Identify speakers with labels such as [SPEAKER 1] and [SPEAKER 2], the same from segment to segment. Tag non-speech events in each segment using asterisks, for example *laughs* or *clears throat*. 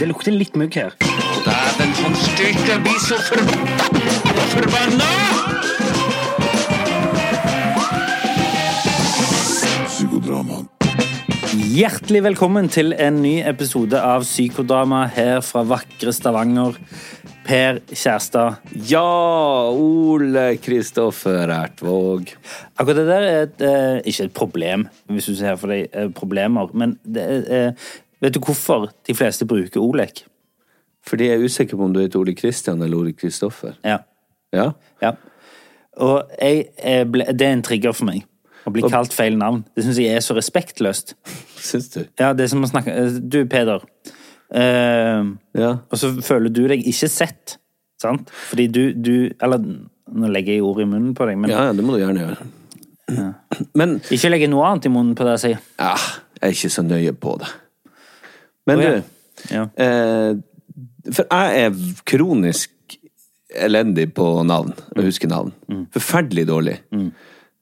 [SPEAKER 1] Det lukter litt mugg her.
[SPEAKER 2] Dæven, han styrte blir så forbanna! Forbanna!
[SPEAKER 3] Psykodrama.
[SPEAKER 1] Hjertelig velkommen til en ny episode av Psykodrama her fra vakre Stavanger. Per Kjærstad.
[SPEAKER 4] Ja, Ole Kristoffer Ertvåg.
[SPEAKER 1] Akkurat det der er et, eh, ikke et problem, hvis du ser for deg eh, problemer, men det er, eh, vet du hvorfor de fleste bruker Olek?
[SPEAKER 4] Fordi jeg er usikker på om du heter Ole Kristian eller Ole Kristoffer.
[SPEAKER 1] Ja.
[SPEAKER 4] Ja?
[SPEAKER 1] ja. Og jeg, eh, ble, det er en trigger for meg. Å bli kalt feil navn. Det syns jeg er så respektløst.
[SPEAKER 4] Syns du?
[SPEAKER 1] Ja, det er som å snakke eh, Du, Peder. Eh,
[SPEAKER 4] Ja.
[SPEAKER 1] Og så føler du deg ikke sett, sant? Fordi du, du Eller nå legger jeg ord i munnen på deg, men
[SPEAKER 4] Ja, ja, det må du gjerne gjøre. Men
[SPEAKER 1] ikke legge noe annet i munnen på deg og si
[SPEAKER 4] ja, jeg er ikke så nøye på det. Men
[SPEAKER 1] Å, ja.
[SPEAKER 4] du,
[SPEAKER 1] ja.
[SPEAKER 4] eh, for jeg er kronisk elendig på navn, å huske navn.
[SPEAKER 1] Mm.
[SPEAKER 4] Forferdelig dårlig.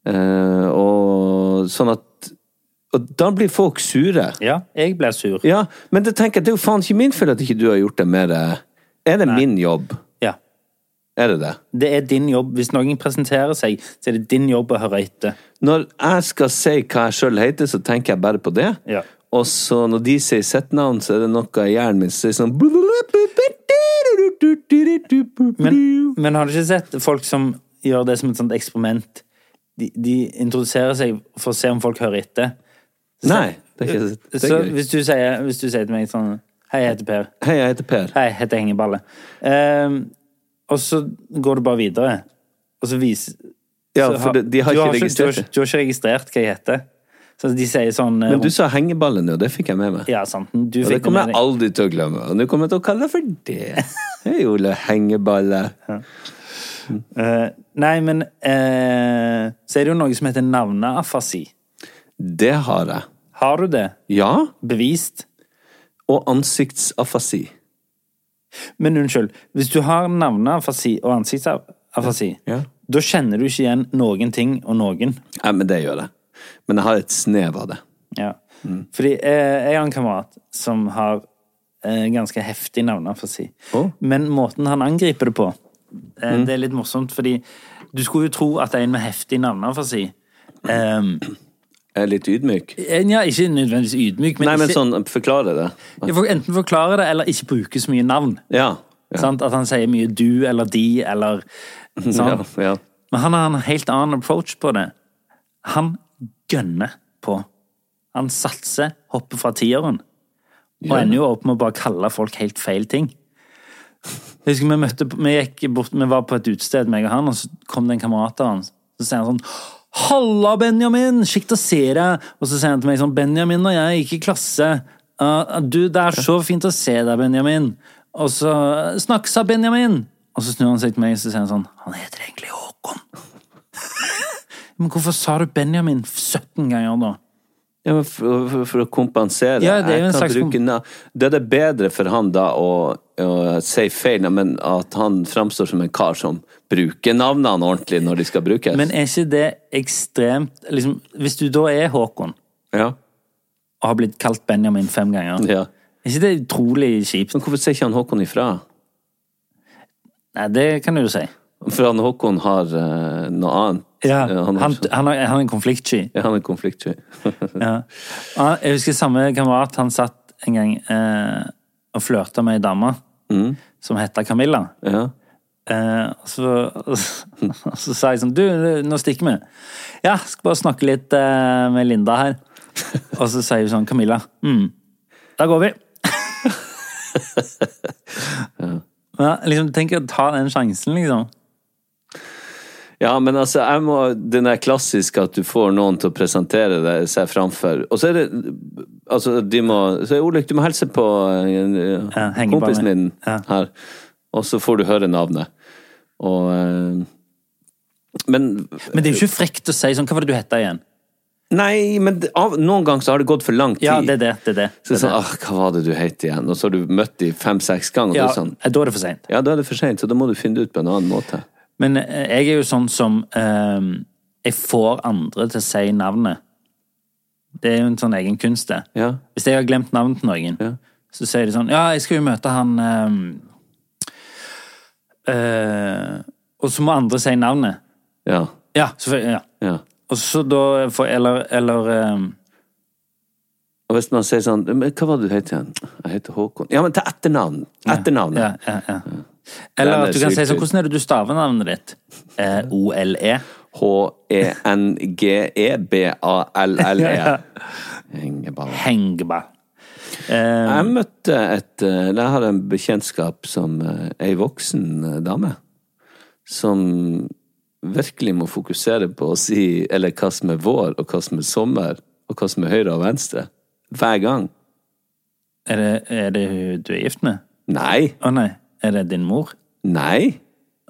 [SPEAKER 4] Eh, og sånn at Og da blir folk sure.
[SPEAKER 1] ja, jeg blir sur.
[SPEAKER 4] Ja, men det tenker jeg, det er jo faen ikke min feil at ikke du har gjort det mer eh, Er det min jobb?
[SPEAKER 1] Ja.
[SPEAKER 4] Er det det?
[SPEAKER 1] Det er din jobb. Hvis noen presenterer seg, så er det din jobb å høre etter.
[SPEAKER 4] Når jeg skal si hva jeg sjøl heter, så tenker jeg bare på det.
[SPEAKER 1] Ja.
[SPEAKER 4] Og så når de sier sitt navn, så er det noe i hjernen min som sier sånn
[SPEAKER 1] Men, men har du ikke sett folk som gjør det som et sånt eksperiment? De, de introduserer seg for å se om folk hører etter.
[SPEAKER 4] Nei. Det er ikke, det
[SPEAKER 1] Eh, Så
[SPEAKER 4] er ikke.
[SPEAKER 1] hvis du sier, hvis du sier til meg sånn Hei, jeg heter Per.
[SPEAKER 4] Hei, jeg heter Per.
[SPEAKER 1] Hei, jeg heter Hengeballe. Ehm, og så går du bare videre. Og så viser
[SPEAKER 4] Ja,
[SPEAKER 1] så
[SPEAKER 4] for de, de har
[SPEAKER 1] du du,
[SPEAKER 4] ikke
[SPEAKER 1] har,
[SPEAKER 4] registrert det.
[SPEAKER 1] ikke- du har ikke registrert høy heter. Så de sier sånn eh,
[SPEAKER 4] Men du sa hengeballe nå, det fikk jeg med meg.
[SPEAKER 1] Ja, sant. Du
[SPEAKER 4] Og det
[SPEAKER 1] fikk det
[SPEAKER 4] kommer
[SPEAKER 1] med
[SPEAKER 4] jeg
[SPEAKER 1] deg.
[SPEAKER 4] aldri til å glemme. Og nå kommer jeg til å kalle deg for det. Hei, Ole Hengeballe.
[SPEAKER 1] Eh, nei, men eh, så er det jo noe som heter navneafasi.
[SPEAKER 4] Det har jeg.
[SPEAKER 1] Har du det?
[SPEAKER 4] Ja.
[SPEAKER 1] Bevist?
[SPEAKER 4] Og ansiktsafasi.
[SPEAKER 1] Men unnskyld, hvis du har navneafasi og ansiktsafasi,
[SPEAKER 4] Ja.
[SPEAKER 1] da kjenner du ikke igjen noen ting og noen.
[SPEAKER 4] Nei, men det gjør jeg. Men jeg har et snev av det.
[SPEAKER 1] Ja.
[SPEAKER 4] Mm.
[SPEAKER 1] Fordi eh, jeg har en kamerat som har eh, ganske heftig navn, for å si.
[SPEAKER 4] Å. Mm.
[SPEAKER 1] Men måten han angriper det på, eh, det er litt morsomt, fordi du skulle jo tro at en med heftig navn, for å si eh,
[SPEAKER 4] Jeg er litt ydmyk.
[SPEAKER 1] en- Ja, ikke nødvendigvis ydmyk, men,
[SPEAKER 4] Nei, men
[SPEAKER 1] ikke,
[SPEAKER 4] sånn, forklare det.
[SPEAKER 1] jeg får enten forklare det eller ikke bruke så mye navn.
[SPEAKER 4] Ja. Ja.
[SPEAKER 1] Sant? At han sier mye du eller de eller sånn.
[SPEAKER 4] *laughs* Ja, ja.
[SPEAKER 1] Men han har en helt annen approach på det. Han gønner på. Han satser, hopper fra tieren. Og ender jo opp med å bare kalle folk helt feil ting. Jeg husker Vi møtte, vi gikk bort, vi var på et utested, meg og han, og så kom det en kamerat av han. Så sier han sånn 'Halla, Benjamin! Kjekt å se deg!' Og så sier han til meg sånn 'Benjamin og jeg gikk i klasse. Ah, du, det er så fint å se deg, Benjamin.' Og så 'Snakkes da, Benjamin!' Og så snur han seg til meg og så sier han sånn 'Han heter egentlig Håkon'. Men hvorfor sa du Benjamin 17 ganger da?
[SPEAKER 4] Ja, men for, for, for å kompensere.
[SPEAKER 1] Ja, det er jo en
[SPEAKER 4] Jeg kan
[SPEAKER 1] slags
[SPEAKER 4] bruke
[SPEAKER 1] kom-
[SPEAKER 4] na- Det er det bedre for han da å, å si feil, men at han framstår som en kar som bruker navnene ordentlig når de skal brukes.
[SPEAKER 1] Men er ikke det ekstremt liksom, Hvis du da er Håkon
[SPEAKER 4] ja.
[SPEAKER 1] og har blitt kalt Benjamin fem ganger,
[SPEAKER 4] Ja.
[SPEAKER 1] er ikke det utrolig kjipt?
[SPEAKER 4] men hvorfor sier ikke han Håkon ifra?
[SPEAKER 1] Nei, det kan du jo si.
[SPEAKER 4] For han Håkon har eh, noe annet.
[SPEAKER 1] Ja,
[SPEAKER 4] Eh,
[SPEAKER 1] han,
[SPEAKER 4] han,
[SPEAKER 1] han,
[SPEAKER 4] også-
[SPEAKER 1] er- han er en konfliktsky.
[SPEAKER 4] ja, han er konfliktsky. *laughs*
[SPEAKER 1] Ja. Og han- Jeg husker samme kamerat, han satt en gang eh, og flørta med ei dame som heta Camilla.
[SPEAKER 4] ja.
[SPEAKER 1] Eh, og, så, og så *laughs* sa jeg sånn Du, nå stikker vi. Ja, skal bare snakke litt eh, med Linda her. *laughs* Og så sier hun sånn Camilla. Mm, da går vi. *laughs* ja, liksom, Tenk å ta den sjansen, liksom.
[SPEAKER 4] ja, men altså, jeg må Den der klassiske at du får noen til å presentere deg, seg framfor Og så er det Altså, de må Så er Olek, du må hilse på eh,
[SPEAKER 1] Ja, henger bare
[SPEAKER 4] kompisen
[SPEAKER 1] med.
[SPEAKER 4] din
[SPEAKER 1] Ja.
[SPEAKER 4] her, og så får du høre navnet. Og eh, Men
[SPEAKER 1] Men det er jo ikke frekt å si sånn Hva var det du heta igjen?
[SPEAKER 4] Nei, men det- av, noen ganger så har det gått for lang tid.
[SPEAKER 1] Ja, det er det. det, er det.
[SPEAKER 4] Så det er sånn, ah, hva var det du het igjen? Og så har du møtt dem fem-seks ganger, og
[SPEAKER 1] Ja,
[SPEAKER 4] du er sånn
[SPEAKER 1] da er det for seint.
[SPEAKER 4] Ja, da er det for seint, så da må du finne det ut på en annen måte.
[SPEAKER 1] Men eh, jeg er jo sånn som eh, Jeg får andre til å si navnet. Det er jo en sånn egen kunst, det.
[SPEAKER 4] Ja.
[SPEAKER 1] Hvis jeg har glemt navnet til noen, så sier de sånn Ja, jeg skal jo møte han eh, eh, Og så må andre si navnet.
[SPEAKER 4] Ja.
[SPEAKER 1] Ja, selvfølgelig. Ja.
[SPEAKER 4] ja.
[SPEAKER 1] Og så da får Eller, eller eh,
[SPEAKER 4] Og hvis man sier sånn men Hva var det du het igjen? Jeg heter Håkon. Ja, men til etternavn. Etternavnet.
[SPEAKER 1] ja, ja, ja. Eller
[SPEAKER 4] Den er
[SPEAKER 1] at du kan si sånn
[SPEAKER 4] sykt kul.
[SPEAKER 1] Hvordan er det du staver navnet ditt? Eh, O-L-E.
[SPEAKER 4] E H-e-n-g-e-b-a-l-l-e.
[SPEAKER 1] *laughs* Ja, ja.
[SPEAKER 4] Hengeball.
[SPEAKER 1] Hengba.
[SPEAKER 4] Jeg møtte et eh, Jeg har en bekjentskap som eh, ei voksen eh, dame. Som virkelig må fokusere på å si eller hva som er vår, og hva som er sommer, og hva som er høyre og venstre. Hver gang.
[SPEAKER 1] Er det, er det hun du er gift med?
[SPEAKER 4] Nei!
[SPEAKER 1] Å nei. Er det din mor?
[SPEAKER 4] Nei.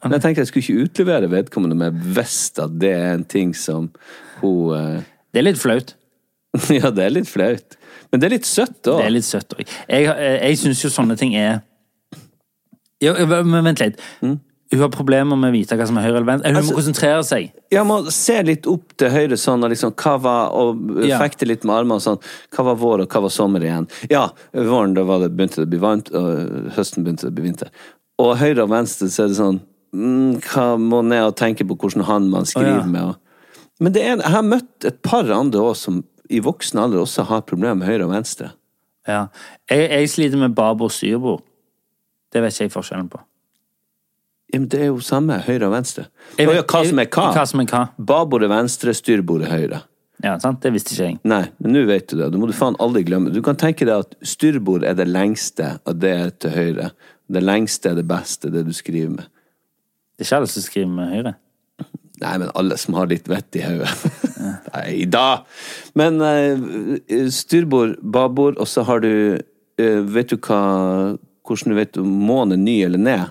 [SPEAKER 4] Men jeg tenkte jeg skulle ikke utlevere vedkommende om jeg visste at det er en ting som hun eh, *laughs*
[SPEAKER 1] Det er litt flaut.
[SPEAKER 4] Ja, det er litt flaut. Men det er litt søtt
[SPEAKER 1] Det er
[SPEAKER 4] òg.
[SPEAKER 1] litt søtt òg. Jeg, eh, jeg syns jo sånne ting er jo, Men vent litt. Hun har problemer med å vite hva som er høyre eller venstre. Hun
[SPEAKER 4] Mm.
[SPEAKER 1] må
[SPEAKER 4] Altså-
[SPEAKER 1] konsentrere seg.
[SPEAKER 4] Ja, man ser litt opp til høyre sånn og liksom hva var, og
[SPEAKER 1] Ja.
[SPEAKER 4] fekte litt med armene og sånn. Hva var vår, og hva var sommer igjen? Ja, våren, da var det, begynte det å bli varmt, og høsten begynte det å bli vinter. Og høyre og venstre, så er det sånn mm, Hva må ned og tenke på hvordan hånd man skriver
[SPEAKER 1] ja.
[SPEAKER 4] med? Og. Men det er, jeg har møtt et par andre òg som i voksen alder også har problemer med høyre og venstre.
[SPEAKER 1] Ja. Jeg, jeg sliter med babord og styrbord. Det vet ikke jeg forskjellen på.
[SPEAKER 4] Ja, men det er jo samme, høyre og venstre.
[SPEAKER 1] Jeg
[SPEAKER 4] Å
[SPEAKER 1] vet-
[SPEAKER 4] ja, hva som er hva?
[SPEAKER 1] Hva som er hva.
[SPEAKER 4] Babord er venstre, styrbord er høyre.
[SPEAKER 1] Ja, sant? Det visste ikke jeg.
[SPEAKER 4] Nei, men nå vet du det. Det må du faen aldri glemme. Du kan tenke deg at styrbord er det lengste, og det er til høyre. Det lengste er det beste, det du skriver med.
[SPEAKER 1] Det er ikke alle som skriver med høyre.
[SPEAKER 4] Nei, men alle som har litt vett i hodet. *laughs* Nei da! Men eh, styrbord, babord, og så har du eh, Vet du hva Hvordan du vet om månen er ny eller ned?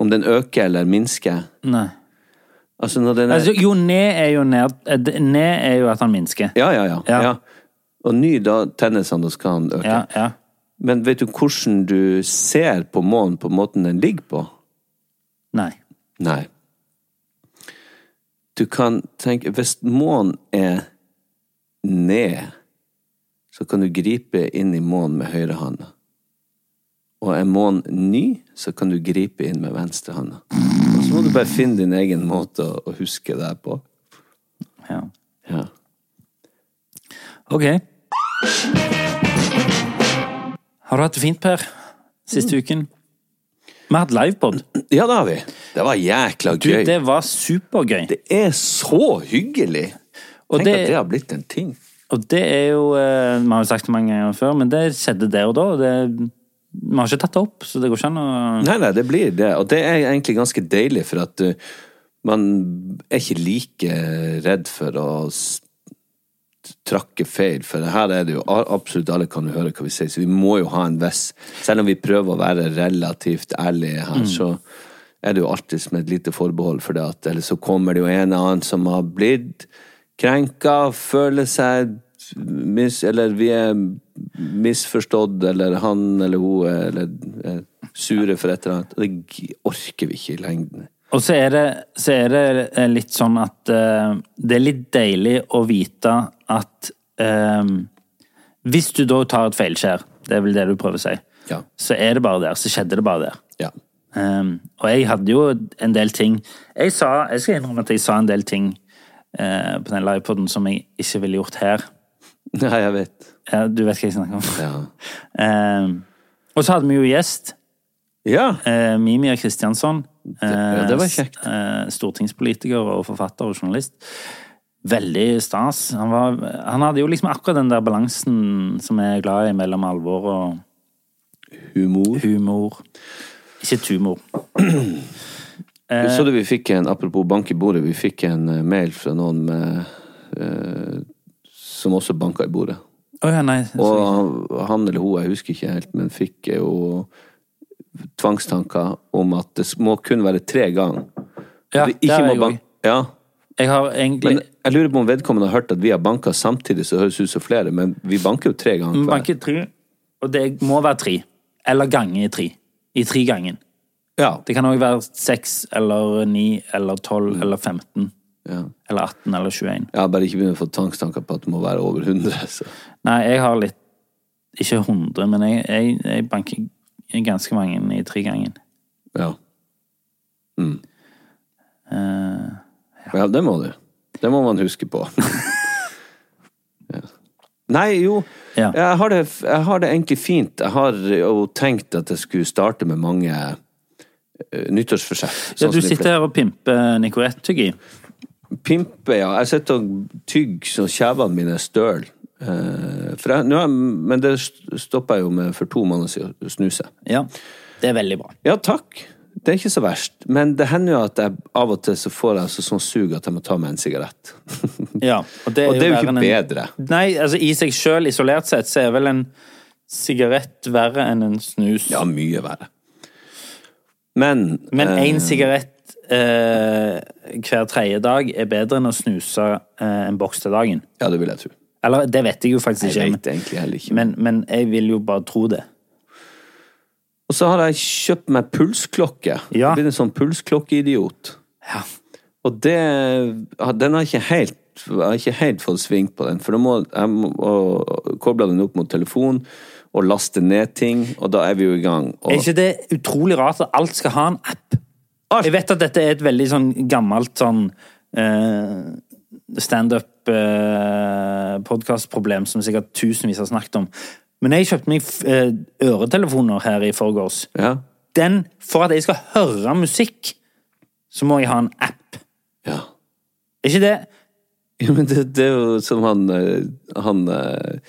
[SPEAKER 4] Om den øker eller minsker?
[SPEAKER 1] Nei.
[SPEAKER 4] Altså når den er
[SPEAKER 1] Altså, jo, ned er jo ned. eh, d- Ned er jo at han minsker.
[SPEAKER 4] Ja, ja, ja.
[SPEAKER 1] Ja.
[SPEAKER 4] ja. Og ny, da tennes han, da skal han øke.
[SPEAKER 1] Ja, ja.
[SPEAKER 4] Men vet du hvordan du ser på månen på måten den ligger på?
[SPEAKER 1] Nei.
[SPEAKER 4] Nei. Du kan tenke Hvis månen er ned, så kan du gripe inn i månen med høyre hånda. Og er månen ny, så kan du gripe inn med venstre hånda. Og så må du bare finne din egen måte å, å huske det på.
[SPEAKER 1] Ja.
[SPEAKER 4] Ja.
[SPEAKER 1] Ok. Har du hatt det fint, Per?
[SPEAKER 4] Mm.
[SPEAKER 1] Siste uken? Vi har hatt livepod.
[SPEAKER 4] ja, det har vi. Det var jækla
[SPEAKER 1] Du,
[SPEAKER 4] Mm. gøy.
[SPEAKER 1] det var supergøy.
[SPEAKER 4] Det er så hyggelig!
[SPEAKER 1] Og
[SPEAKER 4] Tenk
[SPEAKER 1] det-
[SPEAKER 4] at det har blitt en ting.
[SPEAKER 1] Og det er jo eh, Vi har jo sagt det mange ganger før, men det skjedde der og da. Og det, vi har ikke tatt det opp, så det går ikke an å
[SPEAKER 4] Nei, nei, det blir det. Og det er egentlig ganske deilig, for at uh, man er ikke like redd for å s- trakke feil, for her er det jo a- absolutt alle kan jo høre hva vi sier, så vi må jo ha en viss Selv om vi prøver å være relativt ærlige her, så er det jo alltid som et lite forbehold, for det at ellers så kommer det jo en eller annen som har blitt krenka, føler seg mis, Eller vi er misforstått, eller han eller hun er- eller er sure for et eller annet. Og det g- orker vi ikke i lengden.
[SPEAKER 1] Og så er det, så er det eh, litt sånn at eh, det er litt deilig å vite at eh, Hvis du da tar et feilskjær, det er vel det du prøver å si,
[SPEAKER 4] Ja.
[SPEAKER 1] så er det bare der. Så skjedde det bare der.
[SPEAKER 4] Ja. *laughs*
[SPEAKER 1] Um, og jeg hadde jo en del ting Jeg, sa, jeg skal innrømme at jeg sa en del ting eh, på den livepoden som jeg ikke ville gjort her.
[SPEAKER 4] Ja, jeg vet.
[SPEAKER 1] Ja, du vet hva jeg snakker om.
[SPEAKER 4] Ja.
[SPEAKER 1] Um, og så hadde vi jo gjest.
[SPEAKER 4] Ja,
[SPEAKER 1] eh, Mimir Kristiansson.
[SPEAKER 4] ja, det var kjekt.
[SPEAKER 1] eh, stortingspolitiker og forfatter og journalist. Veldig stas. Han, var, han hadde jo liksom akkurat den der balansen som jeg er glad i mellom alvor og
[SPEAKER 4] humor.
[SPEAKER 1] humor. Ikke tumor. Eh.
[SPEAKER 4] Så du vi fikk en, apropos bank i bordet, vi fikk en eh, mail fra noen med eh, Som også banka i bordet.
[SPEAKER 1] Å ja, nei.
[SPEAKER 4] Og han- han eller hun, jeg husker ikke helt, men fikk jo tvangstanker om at det må kun være tre ganger.
[SPEAKER 1] Ja,
[SPEAKER 4] Vi
[SPEAKER 1] der
[SPEAKER 4] ikke
[SPEAKER 1] er
[SPEAKER 4] må
[SPEAKER 1] jeg
[SPEAKER 4] bank-
[SPEAKER 1] også.
[SPEAKER 4] Ja,
[SPEAKER 1] Jeg har egentlig
[SPEAKER 4] Men jeg lurer på om vedkommende har hørt at vi har banka samtidig, så det høres ut som flere, men vi banker jo tre ganger
[SPEAKER 1] Vi
[SPEAKER 4] hver.
[SPEAKER 1] banket tre, og det må være tre. Eller gange i tre. I tre gangen.
[SPEAKER 4] Ja.
[SPEAKER 1] Det kan òg være seks eller ni eller tolv eller 15.
[SPEAKER 4] Mm. Ja.
[SPEAKER 1] Eller 18 eller 21.
[SPEAKER 4] Jeg har bare ikke begynt å få tvangstanker på at det må være over 100. Så.
[SPEAKER 1] Nei, jeg har litt Ikke 100, men jeg, jeg, jeg banker ganske mange i tre gangen.
[SPEAKER 4] Ja.
[SPEAKER 1] Eh,
[SPEAKER 4] ja, det må du. Det må man huske
[SPEAKER 1] *laughs*
[SPEAKER 4] på. ja. Nei, jo.
[SPEAKER 1] Ja.
[SPEAKER 4] Jeg, har det, jeg har det egentlig fint. Jeg har jo tenkt at jeg skulle starte med mange eh, nyttårsforsett.
[SPEAKER 1] ja,
[SPEAKER 4] sånn
[SPEAKER 1] du
[SPEAKER 4] som de
[SPEAKER 1] sitter her og pimper Nicorette-tyggi.
[SPEAKER 4] Pimpe, ja. Jeg sitter og tygger så kjevene mine er støl. Eh, for jeg, nå har jeg- men det stoppa jeg jo med for to måneder siden, å snuse.
[SPEAKER 1] Ja. Det er veldig bra.
[SPEAKER 4] Ja, takk. Det er ikke så verst. Men det hender jo at jeg av og til så får jeg altså sånn sug at jeg må ta meg en sigarett.
[SPEAKER 1] Ja, og det er,
[SPEAKER 4] Og det er jo
[SPEAKER 1] verre
[SPEAKER 4] ikke
[SPEAKER 1] enn
[SPEAKER 4] bedre.
[SPEAKER 1] En, nei, altså i seg sjøl, isolert sett, så er vel en sigarett verre enn en snus.
[SPEAKER 4] Ja, mye verre. Men,
[SPEAKER 1] Men
[SPEAKER 4] eh,
[SPEAKER 1] én sigarett eh, hver tredje dag er bedre enn å snuse eh, en boks til dagen.
[SPEAKER 4] Ja, det vil jeg tro.
[SPEAKER 1] Eller det vet jeg jo faktisk
[SPEAKER 4] Jeg
[SPEAKER 1] ikke,
[SPEAKER 4] vet egentlig heller ikke.
[SPEAKER 1] men, men, men jeg vil jo bare tro det.
[SPEAKER 4] Og så har jeg kjøpt meg pulsklokke.
[SPEAKER 1] Ja.
[SPEAKER 4] Jeg blir en sånn pulsklokkeidiot.
[SPEAKER 1] Ja.
[SPEAKER 4] Og det ja, Den har ikke helt jeg har ikke helt fått sving på den, for da må jeg må, å- koble den opp mot telefonen og laste ned ting, og da er vi jo i gang. Og,
[SPEAKER 1] Er ikke det utrolig rart at alt skal ha en app?
[SPEAKER 4] Alt.
[SPEAKER 1] Jeg vet at dette er et veldig sånn gammelt sånn eh, standup-podkast-problem som sikkert tusenvis har snakket om. Men jeg kjøpte meg eh, øretelefoner her i forgårs.
[SPEAKER 4] Ja.
[SPEAKER 1] Den, for at jeg skal høre musikk, så må jeg ha en app.
[SPEAKER 4] Ja.
[SPEAKER 1] Er ikke det?
[SPEAKER 4] *laughs* ja, men det, det er jo som han, eh, han eh,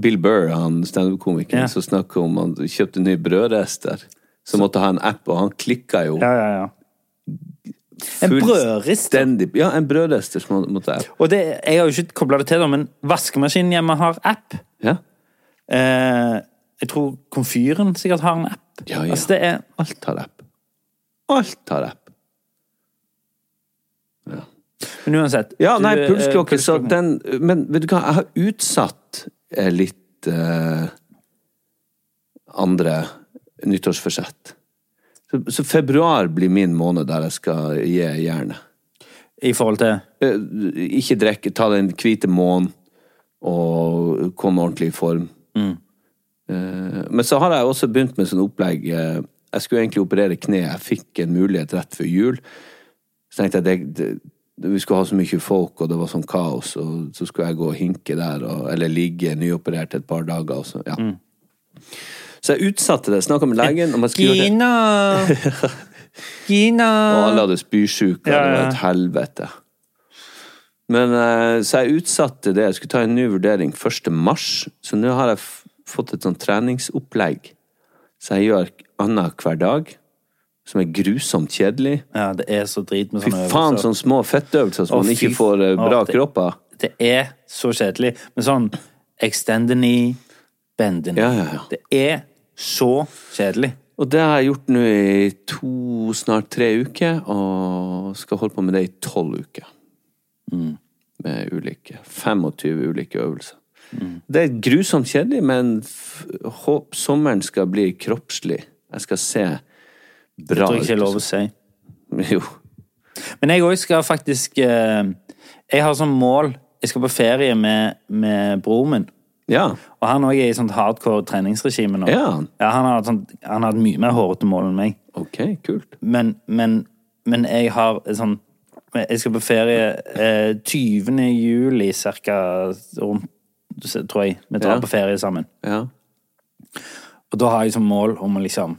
[SPEAKER 4] Bill Burr, han standup-komikeren,
[SPEAKER 1] Ja.
[SPEAKER 4] som snakker om han kjøpte nye brødrester, som måtte ha en app, og han klikka jo
[SPEAKER 1] Ja, ja, ja. En brødrister.
[SPEAKER 4] fullstendig Ja, en brødrester som han måtte ha app.
[SPEAKER 1] Og det, jeg har jo ikke kobla det til, da, men vaskemaskinen hjemme har app.
[SPEAKER 4] Ja.
[SPEAKER 1] Eh, jeg tror komfyren sikkert har en app.
[SPEAKER 4] Ja, ja.
[SPEAKER 1] Altså, det er
[SPEAKER 4] Alt har app. Alt har app.
[SPEAKER 1] Men uansett.
[SPEAKER 4] Ja,
[SPEAKER 1] du,
[SPEAKER 4] nei,
[SPEAKER 1] eh,
[SPEAKER 4] pulsklokke, så
[SPEAKER 1] pulsklokken-
[SPEAKER 4] den Men vet du hva, jeg har utsatt eh, litt eh, andre nyttårsforsett. Så, så februar blir min måned der jeg skal gi jernet.
[SPEAKER 1] I forhold til
[SPEAKER 4] Eh, Ikke drikke, ta den hvite månen og komme ordentlig i form. Eh, Men så har jeg også begynt med sånn opplegg eh, Jeg skulle egentlig operere kneet. Jeg fikk en mulighet rett før jul. Så tenkte jeg det, det, vi skulle ha så mye folk, og det var sånn kaos, og så skulle jeg gå og hinke der, og, eller ligge nyoperert et par dager. Og så, ja. så jeg utsatte det. Snakka med legen om jeg skulle gjøre det.
[SPEAKER 1] Gina! *laughs* Gina!
[SPEAKER 4] Og alle hadde spysjuke, og
[SPEAKER 1] Ja,
[SPEAKER 4] det
[SPEAKER 1] ja.
[SPEAKER 4] var et helvete. Men eh, Så jeg utsatte det. Jeg skulle ta en ny vurdering 1. mars. Så nå har jeg f fått et sånt treningsopplegg så jeg gjør annenhver dag, som er grusomt kjedelig.
[SPEAKER 1] Ja, det er så drit med
[SPEAKER 4] Fy
[SPEAKER 1] sånne
[SPEAKER 4] faen, sånn-
[SPEAKER 1] øvelser.
[SPEAKER 4] sånne små fettøvelser som
[SPEAKER 1] Å,
[SPEAKER 4] man ikke
[SPEAKER 1] fy
[SPEAKER 4] får eh, bra
[SPEAKER 1] faen, det-
[SPEAKER 4] kropp av.
[SPEAKER 1] Det er så kjedelig. Men sånn extend the knee, bend the knee.
[SPEAKER 4] Ja, ja, ja.
[SPEAKER 1] Det er så kjedelig.
[SPEAKER 4] Og det har jeg gjort nå i to, snart tre uker, og skal holde på med det i tolv uker.
[SPEAKER 1] Mm.
[SPEAKER 4] Med ulike 25 ulike øvelser.
[SPEAKER 1] Mm.
[SPEAKER 4] Det er grusomt kjedelig, men f- håp sommeren skal bli kroppslig. Jeg skal se
[SPEAKER 1] Det
[SPEAKER 4] bra
[SPEAKER 1] tror jeg ikke er lov å si.
[SPEAKER 4] *laughs* Jo.
[SPEAKER 1] Men jeg òg skal sånn faktisk eh, Jeg har som mål Jeg skal på ferie med, med broren min.
[SPEAKER 4] Ja.
[SPEAKER 1] Og han òg er i sånt hardcore treningsregime nå.
[SPEAKER 4] Ja.
[SPEAKER 1] han har hatt sånt- han har hatt mye mer hårete mål enn meg.
[SPEAKER 4] Ok, kult.
[SPEAKER 1] Men, men, men jeg har et sånn Jeg skal på ferie eh, 20. juli, cirka, rundt, tror jeg. Vi drar
[SPEAKER 4] Ja.
[SPEAKER 1] på ferie sammen.
[SPEAKER 4] Ja.
[SPEAKER 1] Og da har jeg som mål om å liksom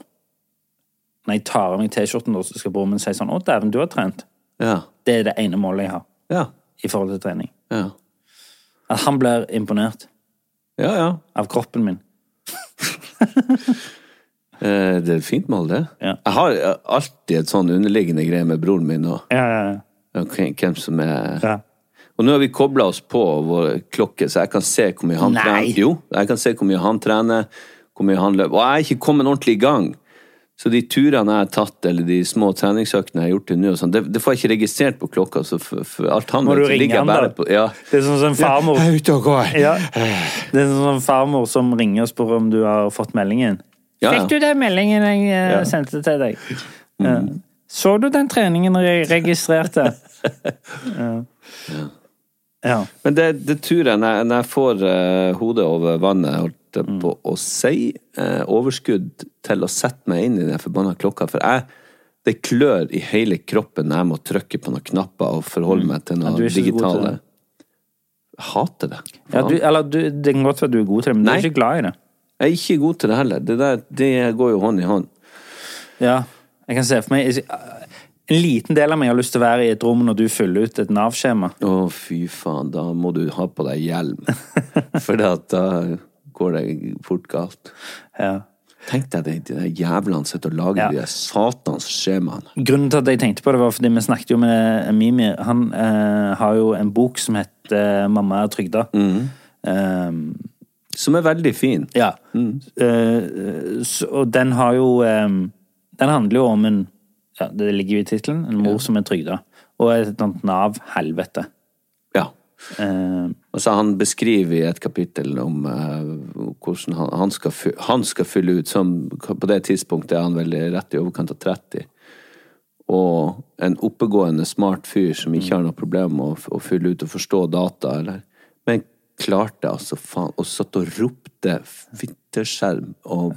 [SPEAKER 1] Når jeg tar av meg T-skjorten, da, så skal broren min si sånn 'Å, dæven, du har trent'.
[SPEAKER 4] Ja.
[SPEAKER 1] Det er det ene målet jeg har
[SPEAKER 4] Ja.
[SPEAKER 1] i forhold til trening.
[SPEAKER 4] Ja.
[SPEAKER 1] At han blir imponert
[SPEAKER 4] Ja, ja.
[SPEAKER 1] av kroppen min.
[SPEAKER 4] Eh, Det er et fint mål, det.
[SPEAKER 1] Ja.
[SPEAKER 4] Jeg har eh, alltid et sånn underliggende greie med broren min og
[SPEAKER 1] Ja, ja,
[SPEAKER 4] og hvem hvem som er
[SPEAKER 1] ja.
[SPEAKER 4] Og nå har vi kobla oss på vår klokke, så jeg kan se hvor mye han
[SPEAKER 1] Nei.
[SPEAKER 4] trener. Jo, jeg kan se hvor mye han trener, hvor mye han løper. Og jeg er ikke kommet ordentlig i gang. Så de turene jeg har tatt, eller de små treningsøktene jeg har gjort til nå, og sånn, det, det får jeg ikke registrert på klokka. Så for, for alt han
[SPEAKER 1] Må
[SPEAKER 4] vet,
[SPEAKER 1] du
[SPEAKER 4] så
[SPEAKER 1] ringe
[SPEAKER 4] ligger jeg
[SPEAKER 1] han,
[SPEAKER 4] bare
[SPEAKER 1] da?
[SPEAKER 4] på ja.
[SPEAKER 1] Det er sånn som farmor *laughs*
[SPEAKER 4] Jeg er ute og går.
[SPEAKER 1] Ja. Det er en sånn farmor som ringer og spør om du har fått meldingen.
[SPEAKER 4] Ja, Mm. ja.
[SPEAKER 1] Fikk du den meldingen jeg eh,
[SPEAKER 4] Ja.
[SPEAKER 1] sendte til deg? Ja. Så du den treningen jeg *laughs* registrerte? ja.
[SPEAKER 4] Men det, det turen jeg, når jeg får eh, hodet over vannet, holdt jeg
[SPEAKER 1] Mm.
[SPEAKER 4] på å si, eh, overskudd til å sette meg inn i den forbanna klokka, for jeg det klør i hele kroppen når jeg må trykke på noen knapper og forholde meg til noe
[SPEAKER 1] Mm. du er ikke så god til
[SPEAKER 4] digitale
[SPEAKER 1] det.
[SPEAKER 4] Jeg hater det.
[SPEAKER 1] ja du, eller du, det kan godt være du er god til det, men
[SPEAKER 4] Nei.
[SPEAKER 1] du er ikke glad i det.
[SPEAKER 4] Jeg er ikke god til det heller. Det, der, det går jo hånd i hånd.
[SPEAKER 1] Ja, jeg kan se for meg eh, En liten del av meg har lyst til å være i et rom når du fyller ut et Nav-skjema.
[SPEAKER 4] Å, fy faen, da må du ha på deg hjelm.
[SPEAKER 1] *laughs*
[SPEAKER 4] For da går det fort galt.
[SPEAKER 1] Ja.
[SPEAKER 4] Tenk deg de, de der jævlene sitter og lager
[SPEAKER 1] Ja.
[SPEAKER 4] de der satans skjemaene.
[SPEAKER 1] Grunnen til at jeg tenkte på det, var fordi vi snakket jo med Mimi. Han eh, har jo en bok som heter 'Mamma er trygda'. Eh,
[SPEAKER 4] Som er veldig fin.
[SPEAKER 1] ja. Eh, så, og den har jo eh, Den handler jo om en ja, Det ligger jo i tittelen. En mor som er trygda. Og et sånt Nav-helvete.
[SPEAKER 4] Ja.
[SPEAKER 1] Eh,
[SPEAKER 4] Altså, han beskriver i et kapittel om eh, hvordan han, han, skal, fy- han skal fylle ut som På det tidspunktet er han vel rett i overkant av 30. Og en oppegående, smart fyr som ikke har noe problem med å, f- å fylle ut og forstå data, eller Men klarte altså faen Og satt og ropte fitteskjerm og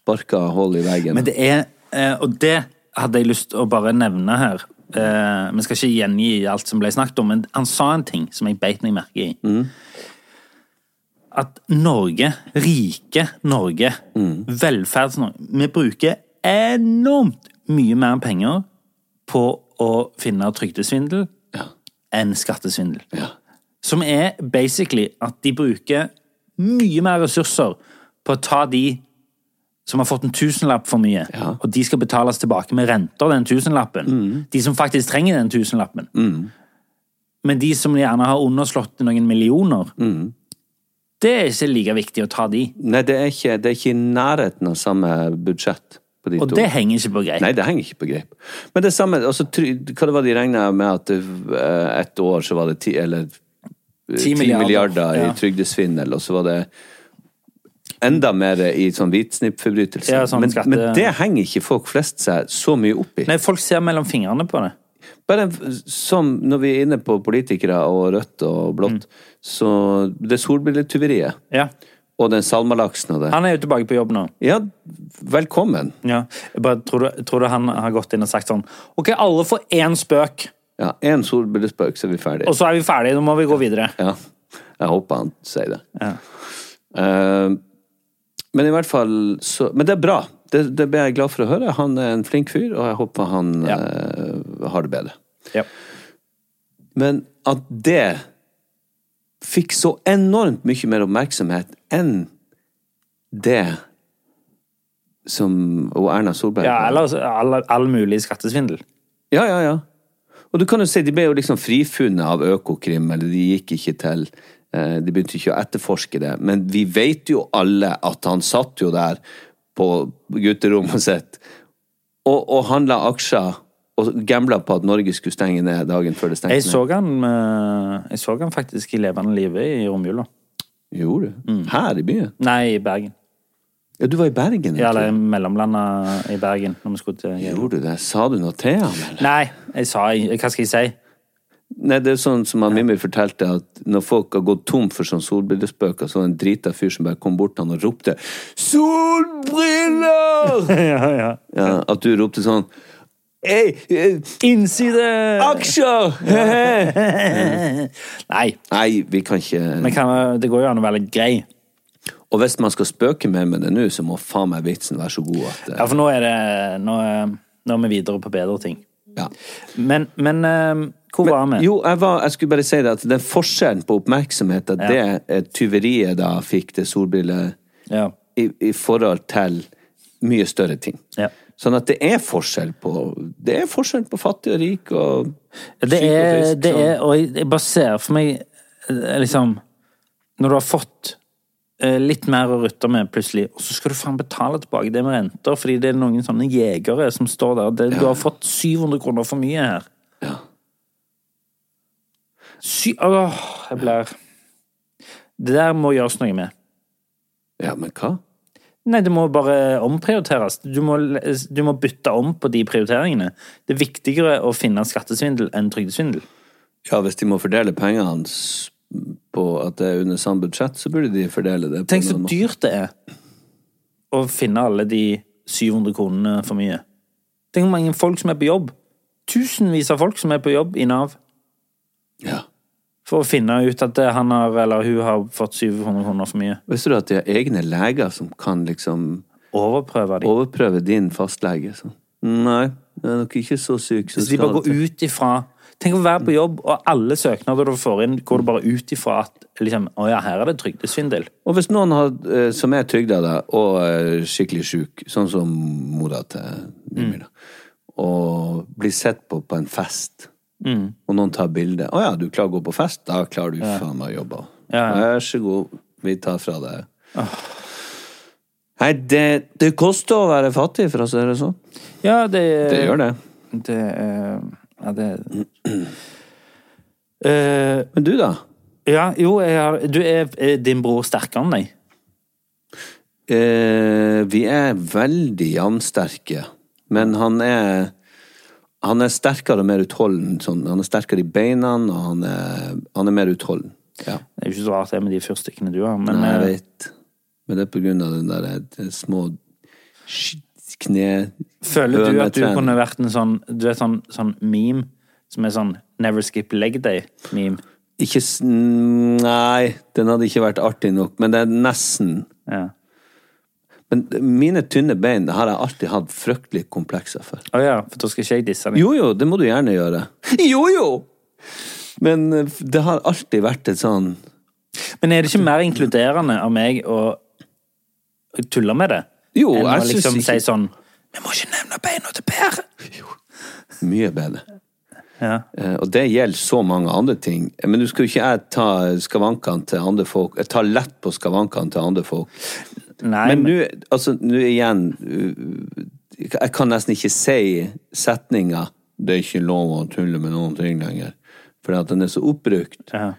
[SPEAKER 4] sparka hull i veggen.
[SPEAKER 1] Men det er eh, Og det hadde jeg lyst å bare nevne her. Eh, Vi skal ikke gjengi alt som ble snakket om, men han sa en ting som jeg beit meg merke i. At Norge, rike Norge, velferds-Norge Vi bruker enormt mye mer penger på å finne trygdesvindel enn skattesvindel. Som er basically at de bruker mye mer ressurser på å ta de som har fått en tusenlapp for mye, og de skal betales tilbake med renter, den tusenlappen.
[SPEAKER 4] Mm.
[SPEAKER 1] De som faktisk trenger den tusenlappen. Men de som gjerne har underslått noen millioner,
[SPEAKER 4] Mm.
[SPEAKER 1] det er ikke like viktig å ta de.
[SPEAKER 4] Nei, det er ikke, det er ikke i nærheten av samme budsjett på de
[SPEAKER 1] Og
[SPEAKER 4] to.
[SPEAKER 1] det henger ikke på greit.
[SPEAKER 4] Nei, det henger ikke på greip. Men det samme altså, try- Hva det var de regna med at eh, et år så var det ti eller eh,
[SPEAKER 1] 10
[SPEAKER 4] 10
[SPEAKER 1] milliarder,
[SPEAKER 4] milliarder,
[SPEAKER 1] ja.
[SPEAKER 4] i trygdesvindel, og så var det enda mer i sånn hvitsnippforbrytelser.
[SPEAKER 1] Ja, sånn
[SPEAKER 4] men,
[SPEAKER 1] skatte-
[SPEAKER 4] men det henger ikke folk flest seg så mye opp i.
[SPEAKER 1] Nei, folk ser mellom fingrene på det.
[SPEAKER 4] Bare en- som når vi er inne på politikere og rødt og
[SPEAKER 1] Mm.
[SPEAKER 4] blått, så det solbrilletyveriet
[SPEAKER 1] Ja.
[SPEAKER 4] og den salmalaksen og det
[SPEAKER 1] Han er jo tilbake på jobb nå.
[SPEAKER 4] Ja, velkommen.
[SPEAKER 1] Ja. Jeg bare tror du, tror du han har gått inn og sagt sånn Ok, alle får én spøk,
[SPEAKER 4] Ja, Én solbrillespøk, så er vi ferdige.
[SPEAKER 1] og så er vi ferdige. Nå må vi gå videre.
[SPEAKER 4] *laughs* Ja. Jeg håper han sier det. Eh, men i hvert fall så Men det er bra. Det, det ble jeg glad for å høre. Han er en flink fyr, og jeg håper han
[SPEAKER 1] Ja.
[SPEAKER 4] eh, har det bedre.
[SPEAKER 1] Ja.
[SPEAKER 4] Men at det fikk så enormt mye mer oppmerksomhet enn det som og Erna Solberg
[SPEAKER 1] Ja, eller all, all mulig skattesvindel.
[SPEAKER 4] Ja, ja, ja. Og du kan jo si, de ble jo liksom frifunnet av Økokrim, eller de gikk ikke til eh, De begynte ikke å etterforske det. Men vi vet jo alle at han satt jo der på gutterommet sitt og, og handla aksjer og gambla på at Norge skulle stenge ned dagen før det stengte
[SPEAKER 1] Jeg så han, eh, jeg så han faktisk i levende live i romjula.
[SPEAKER 4] ned. Gjorde du?
[SPEAKER 1] Mm.
[SPEAKER 4] Her i byen?
[SPEAKER 1] Nei, i Bergen.
[SPEAKER 4] Ja, du var i Bergen?
[SPEAKER 1] Ja,
[SPEAKER 4] jeg tror.
[SPEAKER 1] eller mellomlanda i Bergen. Når vi skulle til
[SPEAKER 4] Gjorde du det? Sa du noe til ham, eller?
[SPEAKER 1] Nei, jeg sa Hva skal jeg si?
[SPEAKER 4] Nei, det er sånn som han Mimmi fortalte, at når folk har gått tom for sånn solbrillespøker, så var det en drita fyr som bare kom bort til han og ropte
[SPEAKER 1] *laughs*
[SPEAKER 4] 'Solbriller!'
[SPEAKER 1] *laughs* Ja, ja.
[SPEAKER 4] ja, at du ropte sånn Ei, eh,
[SPEAKER 1] Innside!
[SPEAKER 4] aksjer! Hehe!
[SPEAKER 1] *laughs* Nei,
[SPEAKER 4] Nei, vi kan ikke
[SPEAKER 1] men kan, det går jo an å være litt grei.
[SPEAKER 4] Og hvis man skal spøke mer med det nå, så må faen meg vitsen være så god at eh,
[SPEAKER 1] Ja, for nå er det Nå, er- nå er vi videre på bedre ting.
[SPEAKER 4] ja.
[SPEAKER 1] Men, men eh, hvor var vi?
[SPEAKER 4] Jo, jeg, var, jeg skulle bare si det at den forskjellen på oppmerksomhet, at det eh, tyveriet da fikk til solbriller
[SPEAKER 1] Ja.
[SPEAKER 4] i, i forhold til mye større ting.
[SPEAKER 1] Ja.
[SPEAKER 4] Sånn at det er forskjell på Det er forskjell på fattig og rik og
[SPEAKER 1] Det
[SPEAKER 4] syk og
[SPEAKER 1] er,
[SPEAKER 4] frisk,
[SPEAKER 1] det
[SPEAKER 4] sånn.
[SPEAKER 1] er Og jeg- jeg bare ser for meg eh, liksom Når du har fått eh, litt mer å rutte med plutselig, og så skal du faen betale tilbake det med renter, fordi det er noen sånne jegere som står der. Det, Du har fått 700 kroner for mye her.
[SPEAKER 4] Ja.
[SPEAKER 1] Sy... Åh, jeg blir Det der må gjøres noe med.
[SPEAKER 4] ja, men hva?
[SPEAKER 1] Nei, det må bare omprioriteres. Du må, du må bytte om på de prioriteringene. Det er viktigere å finne skattesvindel enn trygdesvindel.
[SPEAKER 4] Ja, hvis de må fordele pengene hans på at det er under samme budsjett, så burde de fordele det på
[SPEAKER 1] Tenk så
[SPEAKER 4] noen måte.
[SPEAKER 1] dyrt det er å finne alle de 700 kronene for mye. Tenk hvor mange folk som er på jobb. Tusenvis av folk som er på jobb i Nav
[SPEAKER 4] Ja.
[SPEAKER 1] for å finne ut at eh, han har, eller hun har fått 700 kroner for mye.
[SPEAKER 4] Visste du at de har egne leger som kan liksom
[SPEAKER 1] Overprøve de.
[SPEAKER 4] overprøve din fastlege? Sånn. Nei, du er nok ikke så syk. Så
[SPEAKER 1] Hvis de bare går ut ifra Tenk å være på jobb, og alle søknader du får inn, går du bare ut ifra at liksom, Å ja, her er det trygdesvindel.
[SPEAKER 4] Og hvis noen har, eh, som er trygda da, og eh, skikkelig sjuk, sånn som mora til Mimir, da, og blir sett på på en fest, og noen tar bilde 'Å ja, du klarer å gå på fest? Da klarer du faen meg å jobbe.' Vær så god, vi tar fra deg Nei, det, det koster å være fattig, for å si det sånn.
[SPEAKER 1] Ja, det,
[SPEAKER 4] Det gjør det.
[SPEAKER 1] Det er Ja, det Eh,
[SPEAKER 4] Men du, da?
[SPEAKER 1] Ja, jo, jeg har Du er, er din bror sterkere enn deg?
[SPEAKER 4] Eh, vi er veldig jevnsterke, men han er han er sterkere og mer utholden. Sånn. Han er sterkere i beina, og han er, han er mer utholden. Ja.
[SPEAKER 1] Det er jo ikke så rart det med de fyrstikkene du har, men
[SPEAKER 4] Nei, jeg
[SPEAKER 1] eh,
[SPEAKER 4] vet. Men det er på grunn av den der de små sk- kne...
[SPEAKER 1] føler du at du
[SPEAKER 4] hønetrening.
[SPEAKER 1] kunne vært en sånn Du vet sånn, sånn meme som er sånn Never skip leg day-meme?
[SPEAKER 4] Ikke s- Nei, den hadde ikke vært artig nok, men det er nesten.
[SPEAKER 1] Ja.
[SPEAKER 4] Men mine tynne bein har jeg alltid hatt fryktelige komplekser for.
[SPEAKER 1] Å ja, for da skal ikke jeg disse deg.
[SPEAKER 4] Jo jo, det må du gjerne gjøre. Jo jo! Men eh, det har alltid vært et sånn
[SPEAKER 1] Men er det ikke mer inkluderende av meg å tulle med det?
[SPEAKER 4] Jo,
[SPEAKER 1] enn å
[SPEAKER 4] jeg synes
[SPEAKER 1] liksom si
[SPEAKER 4] ikke-
[SPEAKER 1] sånn Vi må ikke nevne beina til Per!
[SPEAKER 4] mye bedre.
[SPEAKER 1] Ja.
[SPEAKER 4] Eh, Og det gjelder så mange andre ting. Men nå skal jo ikke jeg ta skavankene til andre folk Jeg tar lett på skavankene til andre folk.
[SPEAKER 1] Nei,
[SPEAKER 4] Men
[SPEAKER 1] men,
[SPEAKER 4] nå, altså, nå igjen uh, Jeg kan nesten ikke si setninga 'Det er ikke lov å tulle med noen ting lenger', fordi at den er så oppbrukt.
[SPEAKER 1] Ja.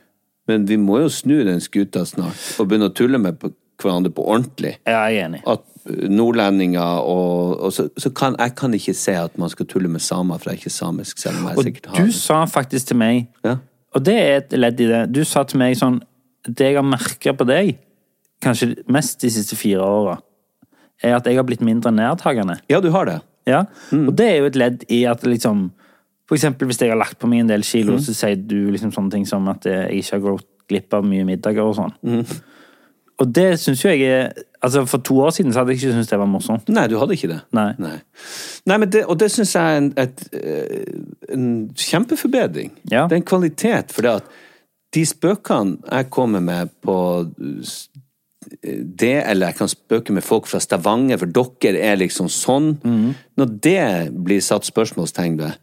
[SPEAKER 4] Men vi må jo snu den skuta snart, og begynne å tulle med på hverandre på ordentlig.
[SPEAKER 1] ja, jeg er enig.
[SPEAKER 4] At uh, nordlendinger og, og så, så kan jeg kan ikke si at man skal tulle med samer, for jeg er ikke samisk, selv om jeg
[SPEAKER 1] Og
[SPEAKER 4] sikkert har
[SPEAKER 1] du sa faktisk til meg
[SPEAKER 4] Ja.
[SPEAKER 1] Og det er et ledd i det. Du sa til meg sånn Det jeg har merka på deg, kanskje mest de siste fire åra, er at jeg har blitt mindre nedtagende.
[SPEAKER 4] Ja, du har det.
[SPEAKER 1] Ja? Og det er jo et ledd i at liksom For eksempel hvis jeg har lagt på meg en del kilo, så sier du liksom sånne ting som at eh, jeg ikke har gått glipp av mye middager og sånn. Og det syns jo jeg er Altså, for to år siden så hadde jeg ikke syntes det var morsomt.
[SPEAKER 4] Nei, du hadde ikke det.
[SPEAKER 1] Nei.
[SPEAKER 4] Nei, Nei, men det, og det syns jeg er en, et, eh, en kjempeforbedring.
[SPEAKER 1] Ja.
[SPEAKER 4] Det er en kvalitet, for det at de spøkene jeg kommer med på eh, s- det, eller jeg kan spøke med folk fra Stavanger, for dere er liksom sånn
[SPEAKER 1] Mhm.
[SPEAKER 4] Når det blir satt spørsmålstegn ved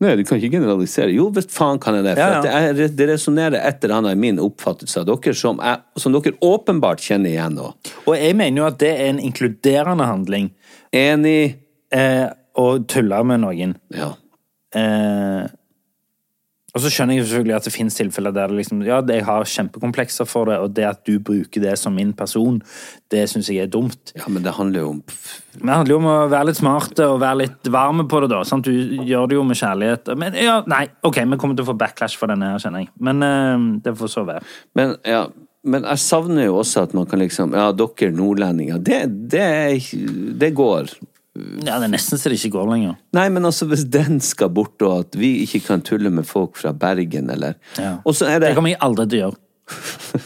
[SPEAKER 4] Nei, du kan ikke generalisere. Jo, visst faen kan jeg det. For
[SPEAKER 1] Ja, ja.
[SPEAKER 4] At det, er- det resonnerer et eller annet i min oppfattelse av dere, som, jeg, som dere åpenbart kjenner igjen nå.
[SPEAKER 1] Og jeg mener jo at det er en inkluderende handling
[SPEAKER 4] Enig?
[SPEAKER 1] eh, å tulle med noen.
[SPEAKER 4] Ja.
[SPEAKER 1] Eh, Og så skjønner jeg selvfølgelig at det finnes tilfeller der det liksom, ja, jeg har kjempekomplekser for det, og det at du bruker det som min person, det syns jeg er dumt.
[SPEAKER 4] Ja, men det handler jo om pff,
[SPEAKER 1] Men det handler jo om å være litt smarte og være litt varme på det, da. Sant? Du gjør det jo med kjærlighet. Men ja, nei, OK, vi kommer til å få backlash for denne, her, kjenner jeg. Men eh, det får så være.
[SPEAKER 4] Men, ja, men jeg savner jo også at man kan liksom Ja, dere nordlendinger. Det, det, det går.
[SPEAKER 1] Ja, Det er nesten så det ikke går lenger.
[SPEAKER 4] Nei, men altså, hvis den skal bort, og at vi ikke kan tulle med folk fra Bergen, eller
[SPEAKER 1] Ja.
[SPEAKER 4] Og så er
[SPEAKER 1] Det
[SPEAKER 4] det
[SPEAKER 1] kommer jeg aldri til å gjøre.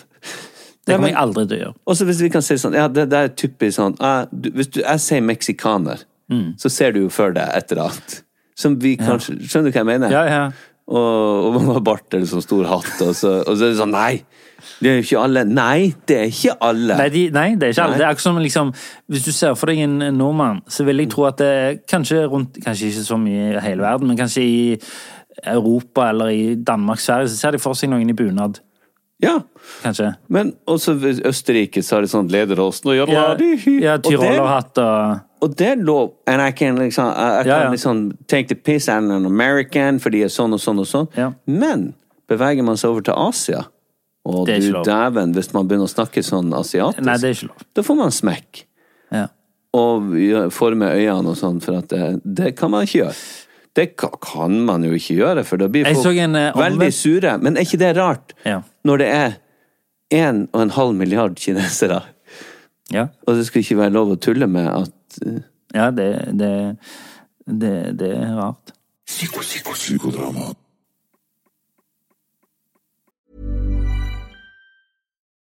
[SPEAKER 1] Det kommer jeg aldri til å gjøre.
[SPEAKER 4] *laughs* Og så hvis vi kan si sånn Ja, det, det er typisk sånn eh, du, Hvis du, jeg sier meksikaner,
[SPEAKER 1] Mm.
[SPEAKER 4] så ser du jo for deg et eller annet. Som vi kanskje Skjønner du hva jeg mener?
[SPEAKER 1] Ja, ja.
[SPEAKER 4] Og, og man har bart eller sånn stor hatt, og så, og så er det sånn Nei! Det er jo ikke alle. Nei, det er ikke alle.
[SPEAKER 1] Nei, de, nei, det er ikke alle.
[SPEAKER 4] Nei.
[SPEAKER 1] Det er akkurat som liksom, Hvis du ser for deg en en nordmann, så vil jeg tro at det er kanskje rundt Kanskje ikke så mye i hele verden, men kanskje i Europa eller i Danmark, Sverige, så ser de for seg noen i bunad.
[SPEAKER 4] Ja.
[SPEAKER 1] Kanskje.
[SPEAKER 4] Men også i Østerrike så har de sånn lederåsen og gjør
[SPEAKER 1] Ja, ja
[SPEAKER 4] og, det,
[SPEAKER 1] Tyrolerhatt og
[SPEAKER 4] og det er lov. And I can liksom, I,
[SPEAKER 1] Ja,
[SPEAKER 4] I
[SPEAKER 1] ja.
[SPEAKER 4] can liksom take the piss out of an American, for de er sånn og sånn og sånn.
[SPEAKER 1] Ja.
[SPEAKER 4] Men beveger man seg over til Asia, og
[SPEAKER 1] Det er
[SPEAKER 4] du
[SPEAKER 1] ikke lov.
[SPEAKER 4] dæven, hvis man begynner å snakke sånn asiatisk,
[SPEAKER 1] Nei, det er ikke lov.
[SPEAKER 4] da får man smekk.
[SPEAKER 1] Ja.
[SPEAKER 4] Og gjør- forme øynene og sånn, for at det, det kan man ikke gjøre. Det ka- kan man jo ikke gjøre, for da blir
[SPEAKER 1] Jeg
[SPEAKER 4] folk
[SPEAKER 1] så en, eh,
[SPEAKER 4] veldig
[SPEAKER 1] omvendt-
[SPEAKER 4] sure. Men er ikke det rart?
[SPEAKER 1] Ja.
[SPEAKER 4] Når det er en og en halv milliard kinesere,
[SPEAKER 1] Ja,
[SPEAKER 4] og det skulle ikke være lov å tulle med at eh,
[SPEAKER 1] ja det, det, det, det er rart.
[SPEAKER 3] Psyko, psyko, psykodrama.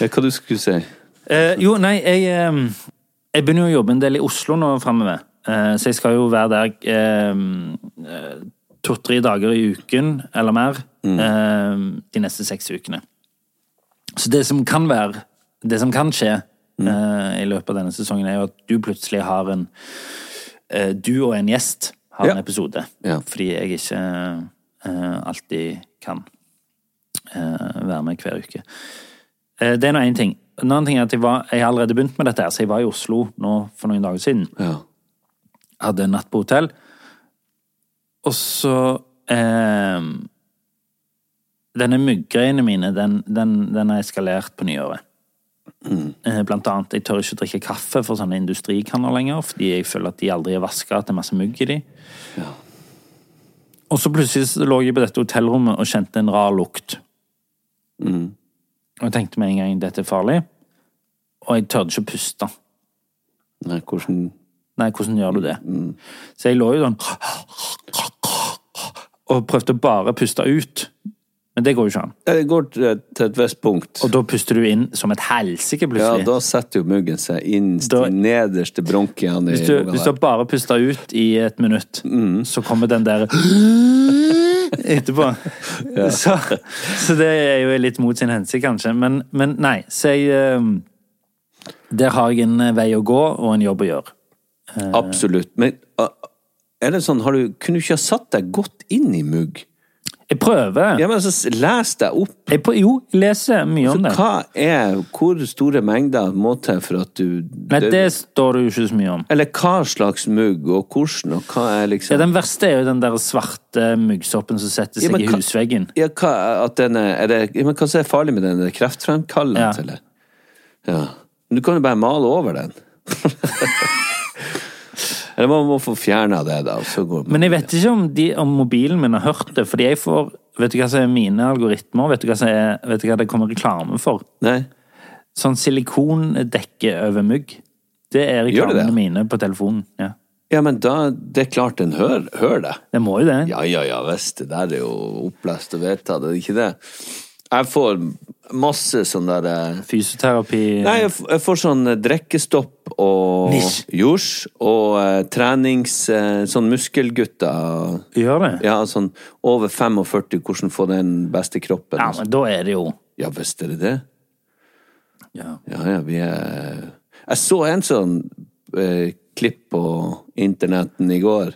[SPEAKER 4] ja, Hva du skulle si?
[SPEAKER 1] Eh, jo, nei, jeg, ehm, jeg begynner jo å jobbe en del i Oslo nå framover. Eh, så jeg skal jo være der ehm, eh, to-tre dager i uken eller mer
[SPEAKER 4] Mm.
[SPEAKER 1] ehm, de neste seks ukene. Så det som kan være, det som kan skje
[SPEAKER 4] Mm.
[SPEAKER 1] eh, i løpet av denne sesongen, er jo at du plutselig har en eh, Du og en gjest har
[SPEAKER 4] Ja.
[SPEAKER 1] en episode.
[SPEAKER 4] Ja.
[SPEAKER 1] Fordi jeg ikke eh, alltid kan eh, være med hver uke. Eh, Det er nå én ting. En annen ting er at jeg, var, jeg har allerede begynt med dette, her, så jeg var i Oslo nå for noen dager siden.
[SPEAKER 4] Ja.
[SPEAKER 1] Hadde en natt på hotell. Og så eh, Denne mygggreiene mine, den, den, den har eskalert på nyåret. Eh, Blant annet, jeg tør ikke drikke kaffe for sånne industrikanner lenger, fordi jeg føler at de aldri er vaska, at det er masse mygg i de. Og så plutselig så lå jeg på dette hotellrommet og kjente en rar lukt. Og jeg tenkte med en gang dette er farlig, og jeg tørde ikke å puste.
[SPEAKER 4] Nei, hvordan
[SPEAKER 1] Nei, hvordan gjør du det?
[SPEAKER 4] Mm.
[SPEAKER 1] Så jeg lå jo sånn Og prøvde bare å puste ut. Men det går jo ikke an.
[SPEAKER 4] Ja, Det går til til et visst punkt.
[SPEAKER 1] Og da puster du inn som et helsike,
[SPEAKER 4] Ja,
[SPEAKER 1] plutselig.
[SPEAKER 4] da setter jo muggen seg innst
[SPEAKER 1] Da-
[SPEAKER 4] i nederste bronkian i
[SPEAKER 1] hvis, du,
[SPEAKER 4] lunga
[SPEAKER 1] hvis du
[SPEAKER 4] der.
[SPEAKER 1] bare puster ut i et minutt,
[SPEAKER 4] Mm.
[SPEAKER 1] så kommer den
[SPEAKER 4] *laughs*
[SPEAKER 1] der etterpå. Så, så det er jo litt mot sin hensikt, kanskje. Men, men nei, så jeg eh, Der har jeg en eh, vei å gå og en jobb å gjøre.
[SPEAKER 4] Absolutt. Men a- er det sånn, har du, kunne du ikke ha satt deg godt inn i mugg?
[SPEAKER 1] Jeg prøver.
[SPEAKER 4] Ja, men altså, les deg opp.
[SPEAKER 1] Jeg prø jo, jeg leser mye om det.
[SPEAKER 4] Hva er, hvor store mengder må til for at du
[SPEAKER 1] Nei, det står det jo ikke så mye om.
[SPEAKER 4] Eller hva slags mugg, og hvordan, og hva er
[SPEAKER 1] Ja,
[SPEAKER 4] liksom
[SPEAKER 1] den verste er jo den der svarte muggsoppen som setter
[SPEAKER 4] Ja,
[SPEAKER 1] seg i
[SPEAKER 4] men hva-
[SPEAKER 1] husveggen.
[SPEAKER 4] Ja, hva, at den er, er det, ja, men hva som er farlig med den? Er det kreftfremkallende,
[SPEAKER 1] Ja.
[SPEAKER 4] eller? Ja. Men Du kan jo bare male over
[SPEAKER 1] *laughs*
[SPEAKER 4] den. eller man må få fjerna det, da. og Så går man.
[SPEAKER 1] Men jeg vet ikke om, de, om mobilen min har hørt det, fordi jeg får Vet du hva som er mine algoritmer? Vet du hva, som er, vet du hva det kommer reklame for?
[SPEAKER 4] Nei.
[SPEAKER 1] Sånn silikondekke over mugg. Det er
[SPEAKER 4] Gjør det det?
[SPEAKER 1] reklamene mine på telefonen. Ja.
[SPEAKER 4] Ja, men da Det er klart den hører, hører det.
[SPEAKER 1] Det må jo det.
[SPEAKER 4] Ja, ja, ja visst. Det der er jo opplest og vedtatt, er det ikke det? Jeg får masse sånn derre
[SPEAKER 1] Fysioterapi
[SPEAKER 4] Nei, jeg, f jeg får sånn eh, drikkestopp og
[SPEAKER 1] Nisj.
[SPEAKER 4] jors og eh, trenings... Eh, sånn muskelgutter.
[SPEAKER 1] gjør det.
[SPEAKER 4] Ja, sånn over 45, hvordan få den beste kroppen.
[SPEAKER 1] Ja,
[SPEAKER 4] og sånn.
[SPEAKER 1] men da er det jo
[SPEAKER 4] Ja, visst er det det.
[SPEAKER 1] ja.
[SPEAKER 4] Ja, ja, vi er Jeg så en sånn eh, klipp på internetten i
[SPEAKER 1] *laughs*
[SPEAKER 4] går,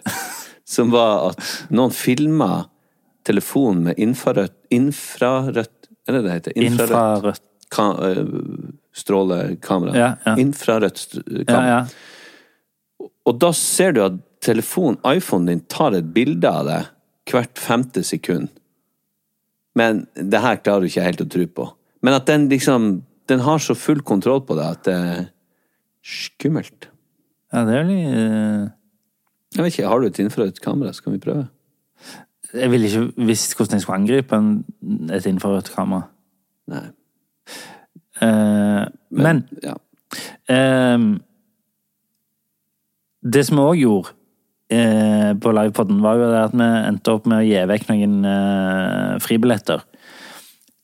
[SPEAKER 4] som var at noen filma telefonen med infrarødt Infrarødt, er det det heter?
[SPEAKER 1] Infrarødt.
[SPEAKER 4] ka, eh, strålekamera.
[SPEAKER 1] Ja, ja.
[SPEAKER 4] Infrarødt st-
[SPEAKER 1] Ja,
[SPEAKER 4] kamera.
[SPEAKER 1] ja.
[SPEAKER 4] Og da ser du at telefonen, iPhonen din, tar et bilde av deg hvert femte sekund. Men det her klarer du ikke helt å tro på. Men at den liksom Den har så full kontroll på deg at det er skummelt.
[SPEAKER 1] ja, det er jo litt eh,
[SPEAKER 4] Jeg vet ikke, Har du et infrarødt kamera, så kan vi prøve.
[SPEAKER 1] Jeg ville ikke visst hvordan jeg skulle angripe en, et infrarødt kamera.
[SPEAKER 4] Nei.
[SPEAKER 1] Eh, men
[SPEAKER 4] Ja.
[SPEAKER 1] Ehm, det som vi òg gjorde eh, på livepoden, var jo det at vi endte opp med å gi vekk noen eh, fribilletter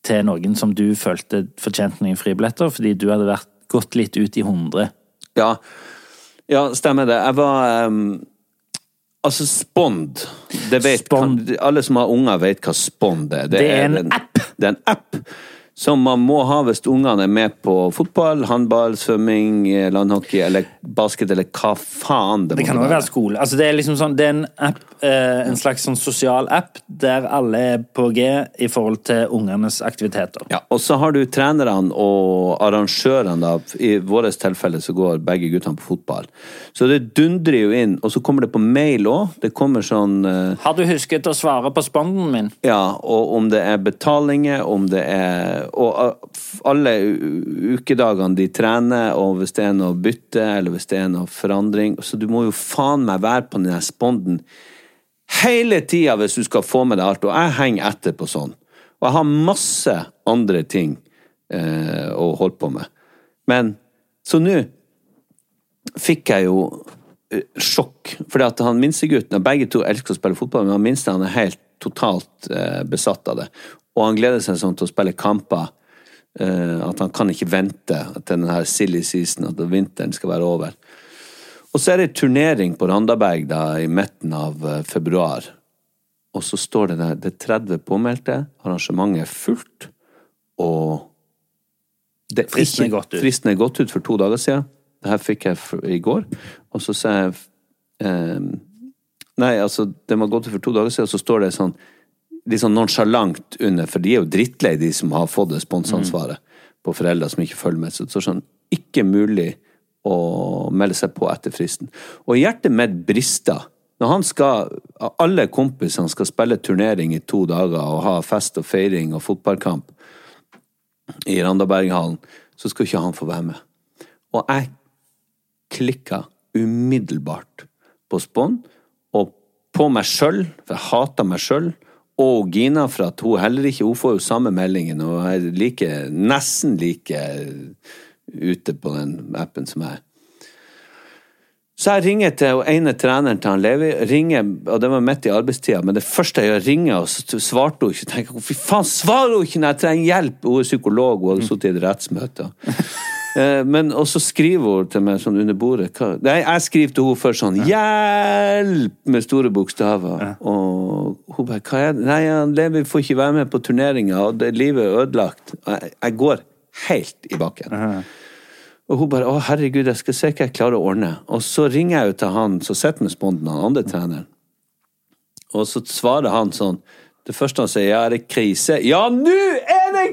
[SPEAKER 1] til noen som du følte fortjente noen fribilletter, fordi du hadde vært gått litt ut i hundre.
[SPEAKER 4] Ja, ja stemmer det. Jeg var ehm, Altså, Spond det vet,
[SPEAKER 1] Spond.
[SPEAKER 4] Kan, Alle som har unger, vet hva Spond er.
[SPEAKER 1] Det er en app.
[SPEAKER 4] Det er en app som man må ha hvis ungene er med på fotball, håndball, svømming, eh, landhockey eller basket eller hva faen det,
[SPEAKER 1] Det kan òg
[SPEAKER 4] måtte
[SPEAKER 1] være skole. Altså, det er liksom sånn, det er en app, eh, en slags sånn sosial app der alle er på G i forhold til ungenes aktiviteter.
[SPEAKER 4] Ja, og så har du trenerne og arrangørene, da. I vårt tilfelle så går begge guttene på fotball. Så det dundrer jo inn, og så kommer det på mail òg. Det kommer sånn eh,
[SPEAKER 1] Har du husket å svare på sponden min?
[SPEAKER 4] Ja, og om det er betalinger, om det er Og uh, f- alle u- ukedagene de trener, og hvis det er noe bytte, eller hvis det er noe forandring Så du må jo faen meg være på den her sponden hele tida hvis du skal få med deg alt. Og jeg henger etter på sånn. Og jeg har masse andre ting eh, å holde på med. Men Så nå fikk jeg jo eh, sjokk. Fordi at han minstegutten Begge to elsker å spille fotball, men han minste han er helt totalt eh, besatt av det. Og han gleder seg sånn til å spille kamper eh, at han kan ikke vente til den her silly season, at vinteren skal være over. Og så er det turnering på Randaberg da, i midten av eh, februar. Og så står det der det er 30 påmeldte, arrangementet er fullt, og det er
[SPEAKER 1] Fristen er
[SPEAKER 4] ikke-
[SPEAKER 1] gått ut.
[SPEAKER 4] Fristen er gått ut for to dager siden. Det her fikk jeg f- i går. Og så sa jeg eh, Nei, altså, den var gått ut for to dager siden, og så står det sånn litt sånn nonsjalant under, for de er jo drittlei, de som har fått det sponsansvaret på foreldre som ikke følger med. Så det står sånn ikke mulig å melde seg på etter fristen. Og hjertet mitt brister. Når han skal, alle kompisene skal spille turnering i to dager og ha fest og feiring og fotballkamp i Randaberghallen, så skal ikke han få være med. Og jeg klikka umiddelbart på Spond, og på meg sjøl, for jeg hater meg sjøl, og Gina, for at hun heller ikke Hun får jo samme meldingen, og er like, eh, nesten like ute på den appen som jeg er. Så jeg ringer til hun ene treneren til han Levi, ringer, og det var midt i arbeidstida, men det første jeg gjør, ringer, og så svarte hun ikke. Jeg tenker, Fy faen, svarer hun ikke når jeg trenger hjelp! Hun er psykolog, hun hadde sittet i et rettsmøte. Eh, Men, og så skriver hun til meg sånn under bordet hva? Nei, jeg skriver til henne først sånn 'Hjelp!' med store bokstaver. Og hun bare 'Hva er det?' 'Nei, han Levi får ikke være med på turneringa, og det, livet er ødelagt.' Og Jeg, jeg går helt i bakken. Og hun bare 'Å, herregud, jeg skal se hva jeg klarer å ordne'. Og så ringer jeg jo til han som sitter med sponden, han andre treneren. Og så svarer han sånn Det første han sier, ja, er det krise? Ja, nå er det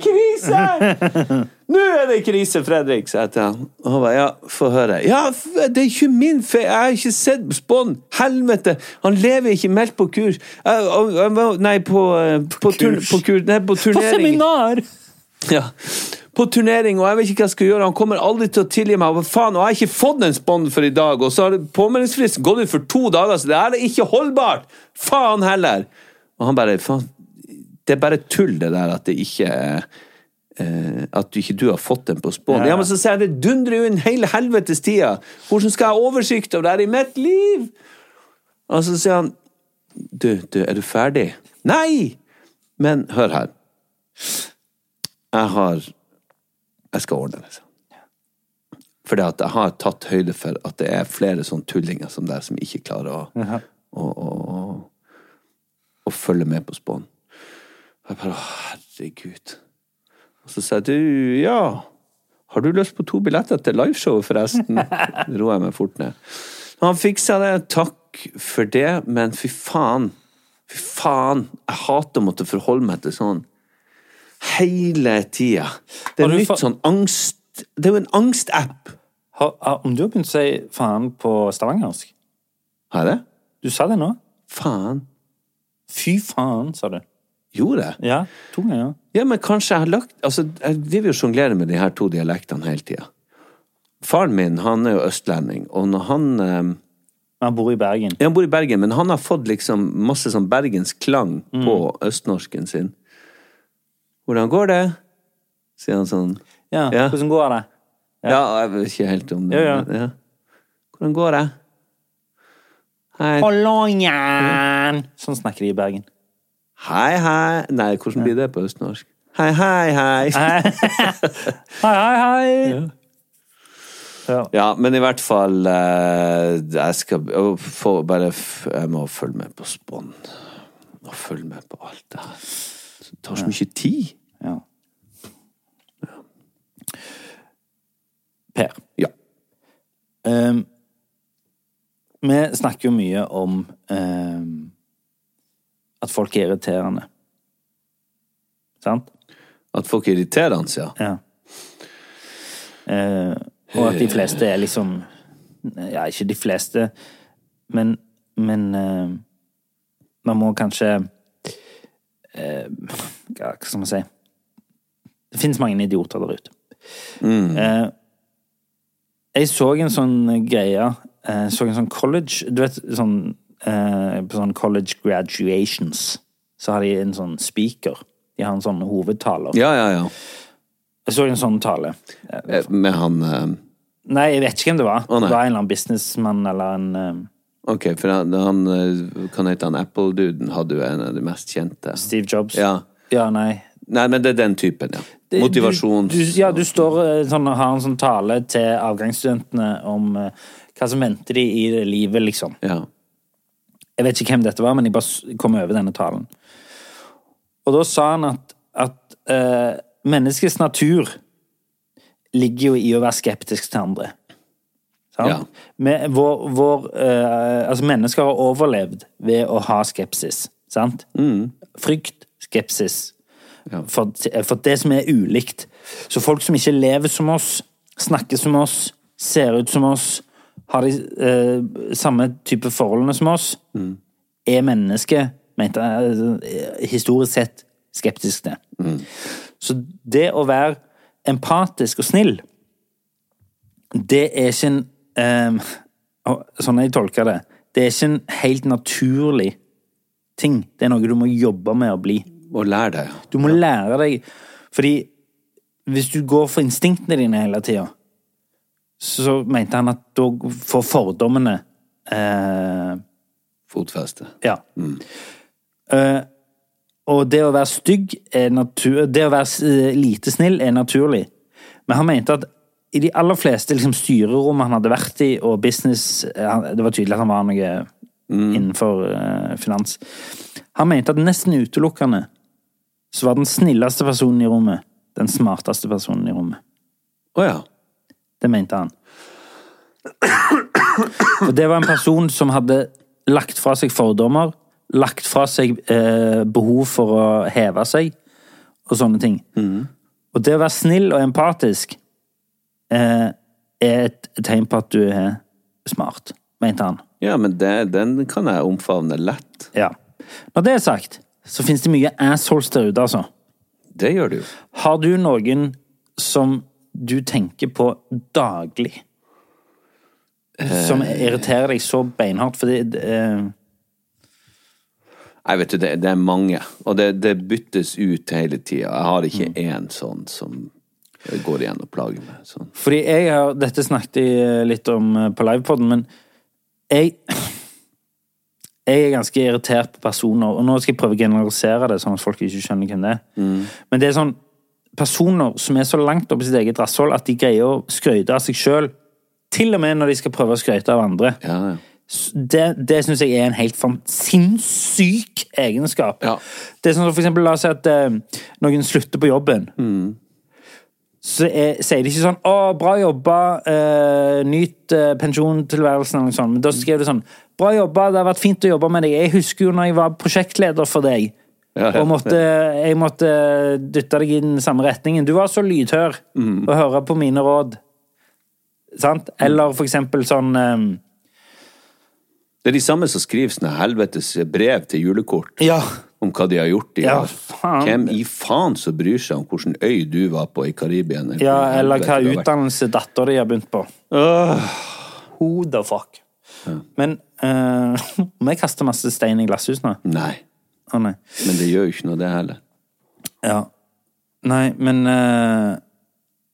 [SPEAKER 4] krise! Nå er det krise, Fredrik, sa jeg til han. Og han bare, ja, få høre. Ja, f- det er ikke min feil, jeg har ikke sett på spånd. Helvete! Han lever ikke meldt på kurs. Jeg- og- jeg var- Nei, på, eh, på, turn, på, kur, nei, på turnering.
[SPEAKER 1] seminar!
[SPEAKER 4] Ja. På turnering, og jeg vet ikke hva jeg skal gjøre. Han kommer aldri til å tilgi meg. Hva faen, og jeg har ikke fått en spond for i dag, og så har påmeldingsfristen gått ut for to dager, så det her er ikke holdbart! Faen heller! Og han bare Faen, det er bare tull, det der, at det ikke er eh, at du ikke du har fått den på spån. Ja, men så sier jeg det dundrer jo inn hele helvetes tida! Hvordan skal jeg ha oversikt over det her i mitt liv?! Og så sier han Du, du, er du ferdig? Nei! Men hør her. Jeg har Jeg skal ordne det. sa han. Fordi at jeg har tatt høyde for at det er flere sånne tullinger som der som ikke klarer å, å, å, å, å følge med på spån. Og jeg bare Å, herregud. Og så sa jeg du, ja Har du lyst på to billetter til
[SPEAKER 1] *laughs*
[SPEAKER 4] liveshowet, forresten? Roer jeg meg fort ned. Han fiksa det. Takk for det, men fy faen. Fy faen. Jeg hater å måtte forholde meg til sånn hele tida. Det
[SPEAKER 1] Har
[SPEAKER 4] er
[SPEAKER 1] du
[SPEAKER 4] nytt
[SPEAKER 1] fa-
[SPEAKER 4] sånn angst Det er jo en angstapp.
[SPEAKER 1] Har, har, om du har begynt å si faen på stavangersk?
[SPEAKER 4] Har jeg det?
[SPEAKER 1] Du sa det nå.
[SPEAKER 4] Faen.
[SPEAKER 1] Fy faen, sa du.
[SPEAKER 4] Gjorde jeg?
[SPEAKER 1] Ja, to ganger.
[SPEAKER 4] Ja, men kanskje jeg har lagt Altså, jeg driver jo og sjonglerer med de her to dialektene hele tida. Faren min, han er jo østlending, og når han eh,
[SPEAKER 1] Men han bor i Bergen.
[SPEAKER 4] Ja, Han bor i Bergen, men han har fått liksom masse sånn bergensk klang
[SPEAKER 1] Mm.
[SPEAKER 4] på østnorsken sin. 'Hvordan går det?' sier han sånn.
[SPEAKER 1] Ja,
[SPEAKER 4] Ja.
[SPEAKER 1] Hvordan går det?
[SPEAKER 4] Ja, jeg vet ikke helt om det.
[SPEAKER 1] Ja, ja.
[SPEAKER 4] men- ja. 'Hvordan går det?' Hei.
[SPEAKER 1] Hollangen! Sånn snakker de i Bergen.
[SPEAKER 4] hei, hei Nei, hvordan blir det på østnorsk? Hei, hei, hei.
[SPEAKER 1] Hei, hei, hei!
[SPEAKER 4] Ja, men i hvert fall eh, Jeg skal å, få bare f- Jeg må følge med på spånd. Og følge med på alt det her. Det tar så mye tid.
[SPEAKER 1] Ja. Per.
[SPEAKER 4] Ja.
[SPEAKER 1] ehm, vi snakker jo mye om ehm, at folk er irriterende. Sant?
[SPEAKER 4] At folk er irriterende, ja.
[SPEAKER 1] Ja. Eh, og at de fleste er liksom Ja, ikke de fleste, men, men eh, Man må kanskje eh, ja, Hva skal man si Det finnes mange idioter der ute. Eh, jeg så en sånn greie eh, Så en sånn college Du vet, sånn eh, På sånn college graduations så har de en sånn speaker. De har en sånn hovedtaler.
[SPEAKER 4] Ja, ja, ja.
[SPEAKER 1] Jeg så en sånn tale. Eh,
[SPEAKER 4] Eh, Med han eh,
[SPEAKER 1] Nei, jeg vet ikke hvem det var.
[SPEAKER 4] nei.
[SPEAKER 1] det var en eller annen businessmann eller en eh,
[SPEAKER 4] Ok, for han, han eh, Kan hete han Apple-duden? Hadde jo en av de mest kjente.
[SPEAKER 1] Steve Jobs.
[SPEAKER 4] Ja.
[SPEAKER 1] Ja, nei.
[SPEAKER 4] Nei, men det er den typen, ja.
[SPEAKER 1] Det-
[SPEAKER 4] Motivasjon.
[SPEAKER 1] Du, du, ja, du står eh, sånn, og har en sånn tale til avgangsstudentene om eh, hva som venter de i det livet, liksom.
[SPEAKER 4] Ja.
[SPEAKER 1] Jeg vet ikke hvem dette var, men jeg bare s- kom over denne talen. Og da sa han at, at eh, menneskets natur ligger jo i å være skeptisk til andre. Sant?
[SPEAKER 4] Ja.
[SPEAKER 1] Med, vår, vår, eh, altså mennesker har overlevd ved å ha skepsis. Sant? Frykt, skepsis. For, for det som er ulikt. Så folk som ikke lever som oss, snakker som oss, ser ut som oss, har de eh, samme type forholdene som oss, er mennesket, mente jeg, altså, historisk sett, skeptisk til. Så det å være empatisk og snill, det er ikke en ehm, og Sånn jeg tolker det, det er ikke en helt naturlig ting. Det er noe du må jobbe med å bli.
[SPEAKER 4] Og lær deg. ja.
[SPEAKER 1] Du må lære deg Fordi hvis du går for instinktene dine hele tida, så, så mente han at da får fordommene eh,
[SPEAKER 4] Fotfeste.
[SPEAKER 1] Ja. Eh, og det å være stygg er natur... Det å være eh, lite snill er naturlig. Men han mente at i de aller fleste liksom, styrerom han hadde vært i, og business eh, han- Det var tydelig at han var noe innenfor eh, finans. Han mente at nesten utelukkende så var den snilleste personen i rommet den smarteste personen i rommet.
[SPEAKER 4] Å ja.
[SPEAKER 1] Det mente han. For det var en person som hadde lagt fra seg fordommer, lagt fra seg eh, behov for å heve seg, og sånne ting. Og det å være snill og empatisk eh, er et tegn på at du er smart, mente han.
[SPEAKER 4] Ja, men det, den kan jeg omfavne lett.
[SPEAKER 1] Ja. Når det er sagt, så finnes det mye assholes der ute, altså.
[SPEAKER 4] Det gjør du jo.
[SPEAKER 1] Har du noen som du tenker på daglig? Som irriterer deg så beinhardt? Fordi eh,
[SPEAKER 4] Nei, vet du, det, det er mange. Og det, det byttes ut hele tida. Jeg har ikke én sånn som går igjen og plager meg. Sånn.
[SPEAKER 1] Fordi jeg har Dette snakket jeg litt om eh, på livepoden, men jeg *clears throat* Jeg er ganske irritert på personer, og nå skal jeg prøve å generalisere det, sånn at folk ikke skjønner hvem det er. Men det er sånn personer som er så langt oppe i sitt eget rasshold at de greier å skryte av seg sjøl, til og med når de skal prøve å skryte av andre.
[SPEAKER 4] Ja, ja.
[SPEAKER 1] S- Det, det syns jeg er en helt fan- sinnssyk egenskap.
[SPEAKER 4] Ja.
[SPEAKER 1] Det er sånn som for eksempel, La oss si at eh, noen slutter på jobben.
[SPEAKER 4] Mm.
[SPEAKER 1] Så er, sier de ikke sånn 'Å, bra jobba. Eh, nyt eh, pensjontilværelsen.' Eller noe sånt. Men da skrev de sånn 'Bra jobba. Det har vært fint å jobbe med deg. Jeg husker jo når jeg var prosjektleder for deg.'
[SPEAKER 4] Ja, ja.
[SPEAKER 1] Og måtte, jeg måtte dytte deg i den samme retningen. Du var så lydhør
[SPEAKER 4] Mm.
[SPEAKER 1] og hører på mine råd. Sant? Eller for eksempel sånn eh,
[SPEAKER 4] Det er de samme som skriver sånne helvetes brev til julekort
[SPEAKER 1] Ja.
[SPEAKER 4] om hva de har gjort i
[SPEAKER 1] Ja,
[SPEAKER 4] år.
[SPEAKER 1] faen.
[SPEAKER 4] Hvem i faen som bryr seg om hvilken øy du var på i Karibia? *laughs*
[SPEAKER 1] Ja, eller hva utdannelse datter de har begynt på. Who the fuck? Men eh, *laughs* Om jeg kaster masse stein i glasshus nå?
[SPEAKER 4] Nei,
[SPEAKER 1] Å, nei.
[SPEAKER 4] men det gjør jo ikke noe, det heller.
[SPEAKER 1] Ja. Nei, men eh,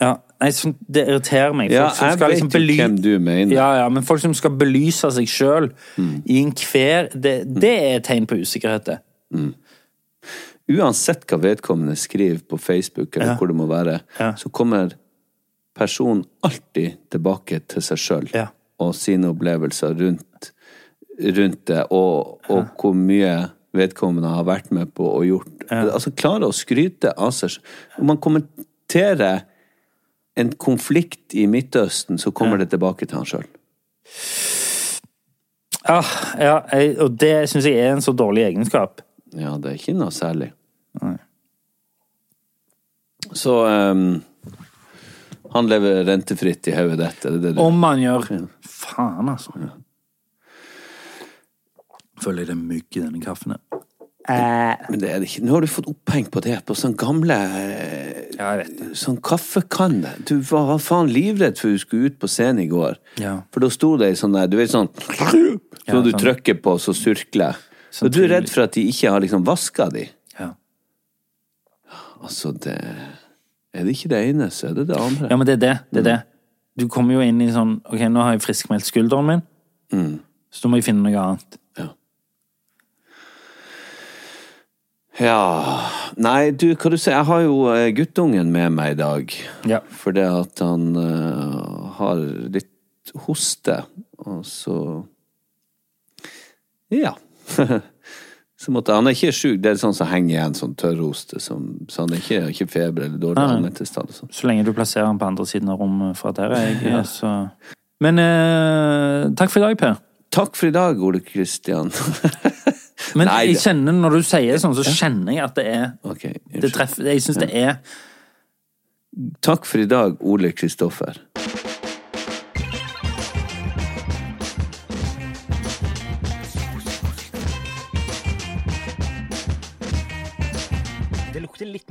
[SPEAKER 1] Ja, nei, sånn, det irriterer meg. Folk
[SPEAKER 4] Ja,
[SPEAKER 1] som
[SPEAKER 4] jeg
[SPEAKER 1] skal liksom
[SPEAKER 4] vet jo
[SPEAKER 1] bely-
[SPEAKER 4] hvem du mener. Mm.
[SPEAKER 1] Ja, ja, men folk som skal belyse seg sjøl i enhver det, det er et tegn på usikkerhet, det.
[SPEAKER 4] Uansett hva vedkommende skriver på Facebook, eller hvor det må være, så kommer personen alltid tilbake til seg sjøl
[SPEAKER 1] Ja.
[SPEAKER 4] og sine opplevelser rundt, rundt det, og, og hvor mye vedkommende har vært med på og gjort. Altså klare å skryte av seg sjøl. Om man kommenterer en konflikt i Midtøsten, så kommer det tilbake til han sjøl.
[SPEAKER 1] Ah, ja, jeg, og det syns jeg er en så dårlig egenskap.
[SPEAKER 4] Ja, det er ikke noe særlig. Så ehm, han lever rentefritt i hodet ditt, er det det du
[SPEAKER 1] Om man gjør Faen, altså. Føler jeg det er mygg i denne kaffen her. Eh.
[SPEAKER 4] Men det er det ikke. Nå har du fått oppheng på det, på sånn gamle eh,
[SPEAKER 1] Ja, jeg vet det.
[SPEAKER 4] Sånn kaffekanne. Du var faen livredd for du skulle ut på scenen i går.
[SPEAKER 1] Ja.
[SPEAKER 4] For da sto det ei sånn der, du vet sånn Så
[SPEAKER 1] Ja,
[SPEAKER 4] du
[SPEAKER 1] sånn.
[SPEAKER 4] trykker på, så surkler.
[SPEAKER 1] Sånn
[SPEAKER 4] Og du er
[SPEAKER 1] tydelig.
[SPEAKER 4] redd for at de ikke har liksom vaska de.
[SPEAKER 1] Ja.
[SPEAKER 4] Altså, det Er det ikke det ene, så er det det andre.
[SPEAKER 1] ja, men det er det. det, er det. Du kommer jo inn i sånn Ok, nå har jeg friskmeldt skulderen min, Mm. så nå må jeg finne noe annet.
[SPEAKER 4] Ja Nei, du, hva du sier, jeg har jo eh, guttungen med meg i dag.
[SPEAKER 1] Ja.
[SPEAKER 4] Fordi at han eh, har litt hoste, og så Ja. *laughs* så måtte, han er ikke sjuk, det er sånn som henger igjen, sånn tørrhoste. Som, så han er ikke, ikke feber eller dårlig allmenntilstand. og sånn.
[SPEAKER 1] Så lenge du plasserer den på andre siden av rommet fra der jeg er, så Men eh, takk for i dag, Per.
[SPEAKER 4] Takk for i dag, Ole Kristian. *laughs*
[SPEAKER 1] Men
[SPEAKER 4] Nei,
[SPEAKER 1] jeg
[SPEAKER 4] det-
[SPEAKER 1] kjenner, når du sier sånn, så kjenner jeg at det er
[SPEAKER 4] Ok,
[SPEAKER 1] det
[SPEAKER 4] unnskyld.
[SPEAKER 1] treffer, Jeg syns det er
[SPEAKER 4] Takk for i dag, Ole Kristoffer.
[SPEAKER 5] Det lukter litt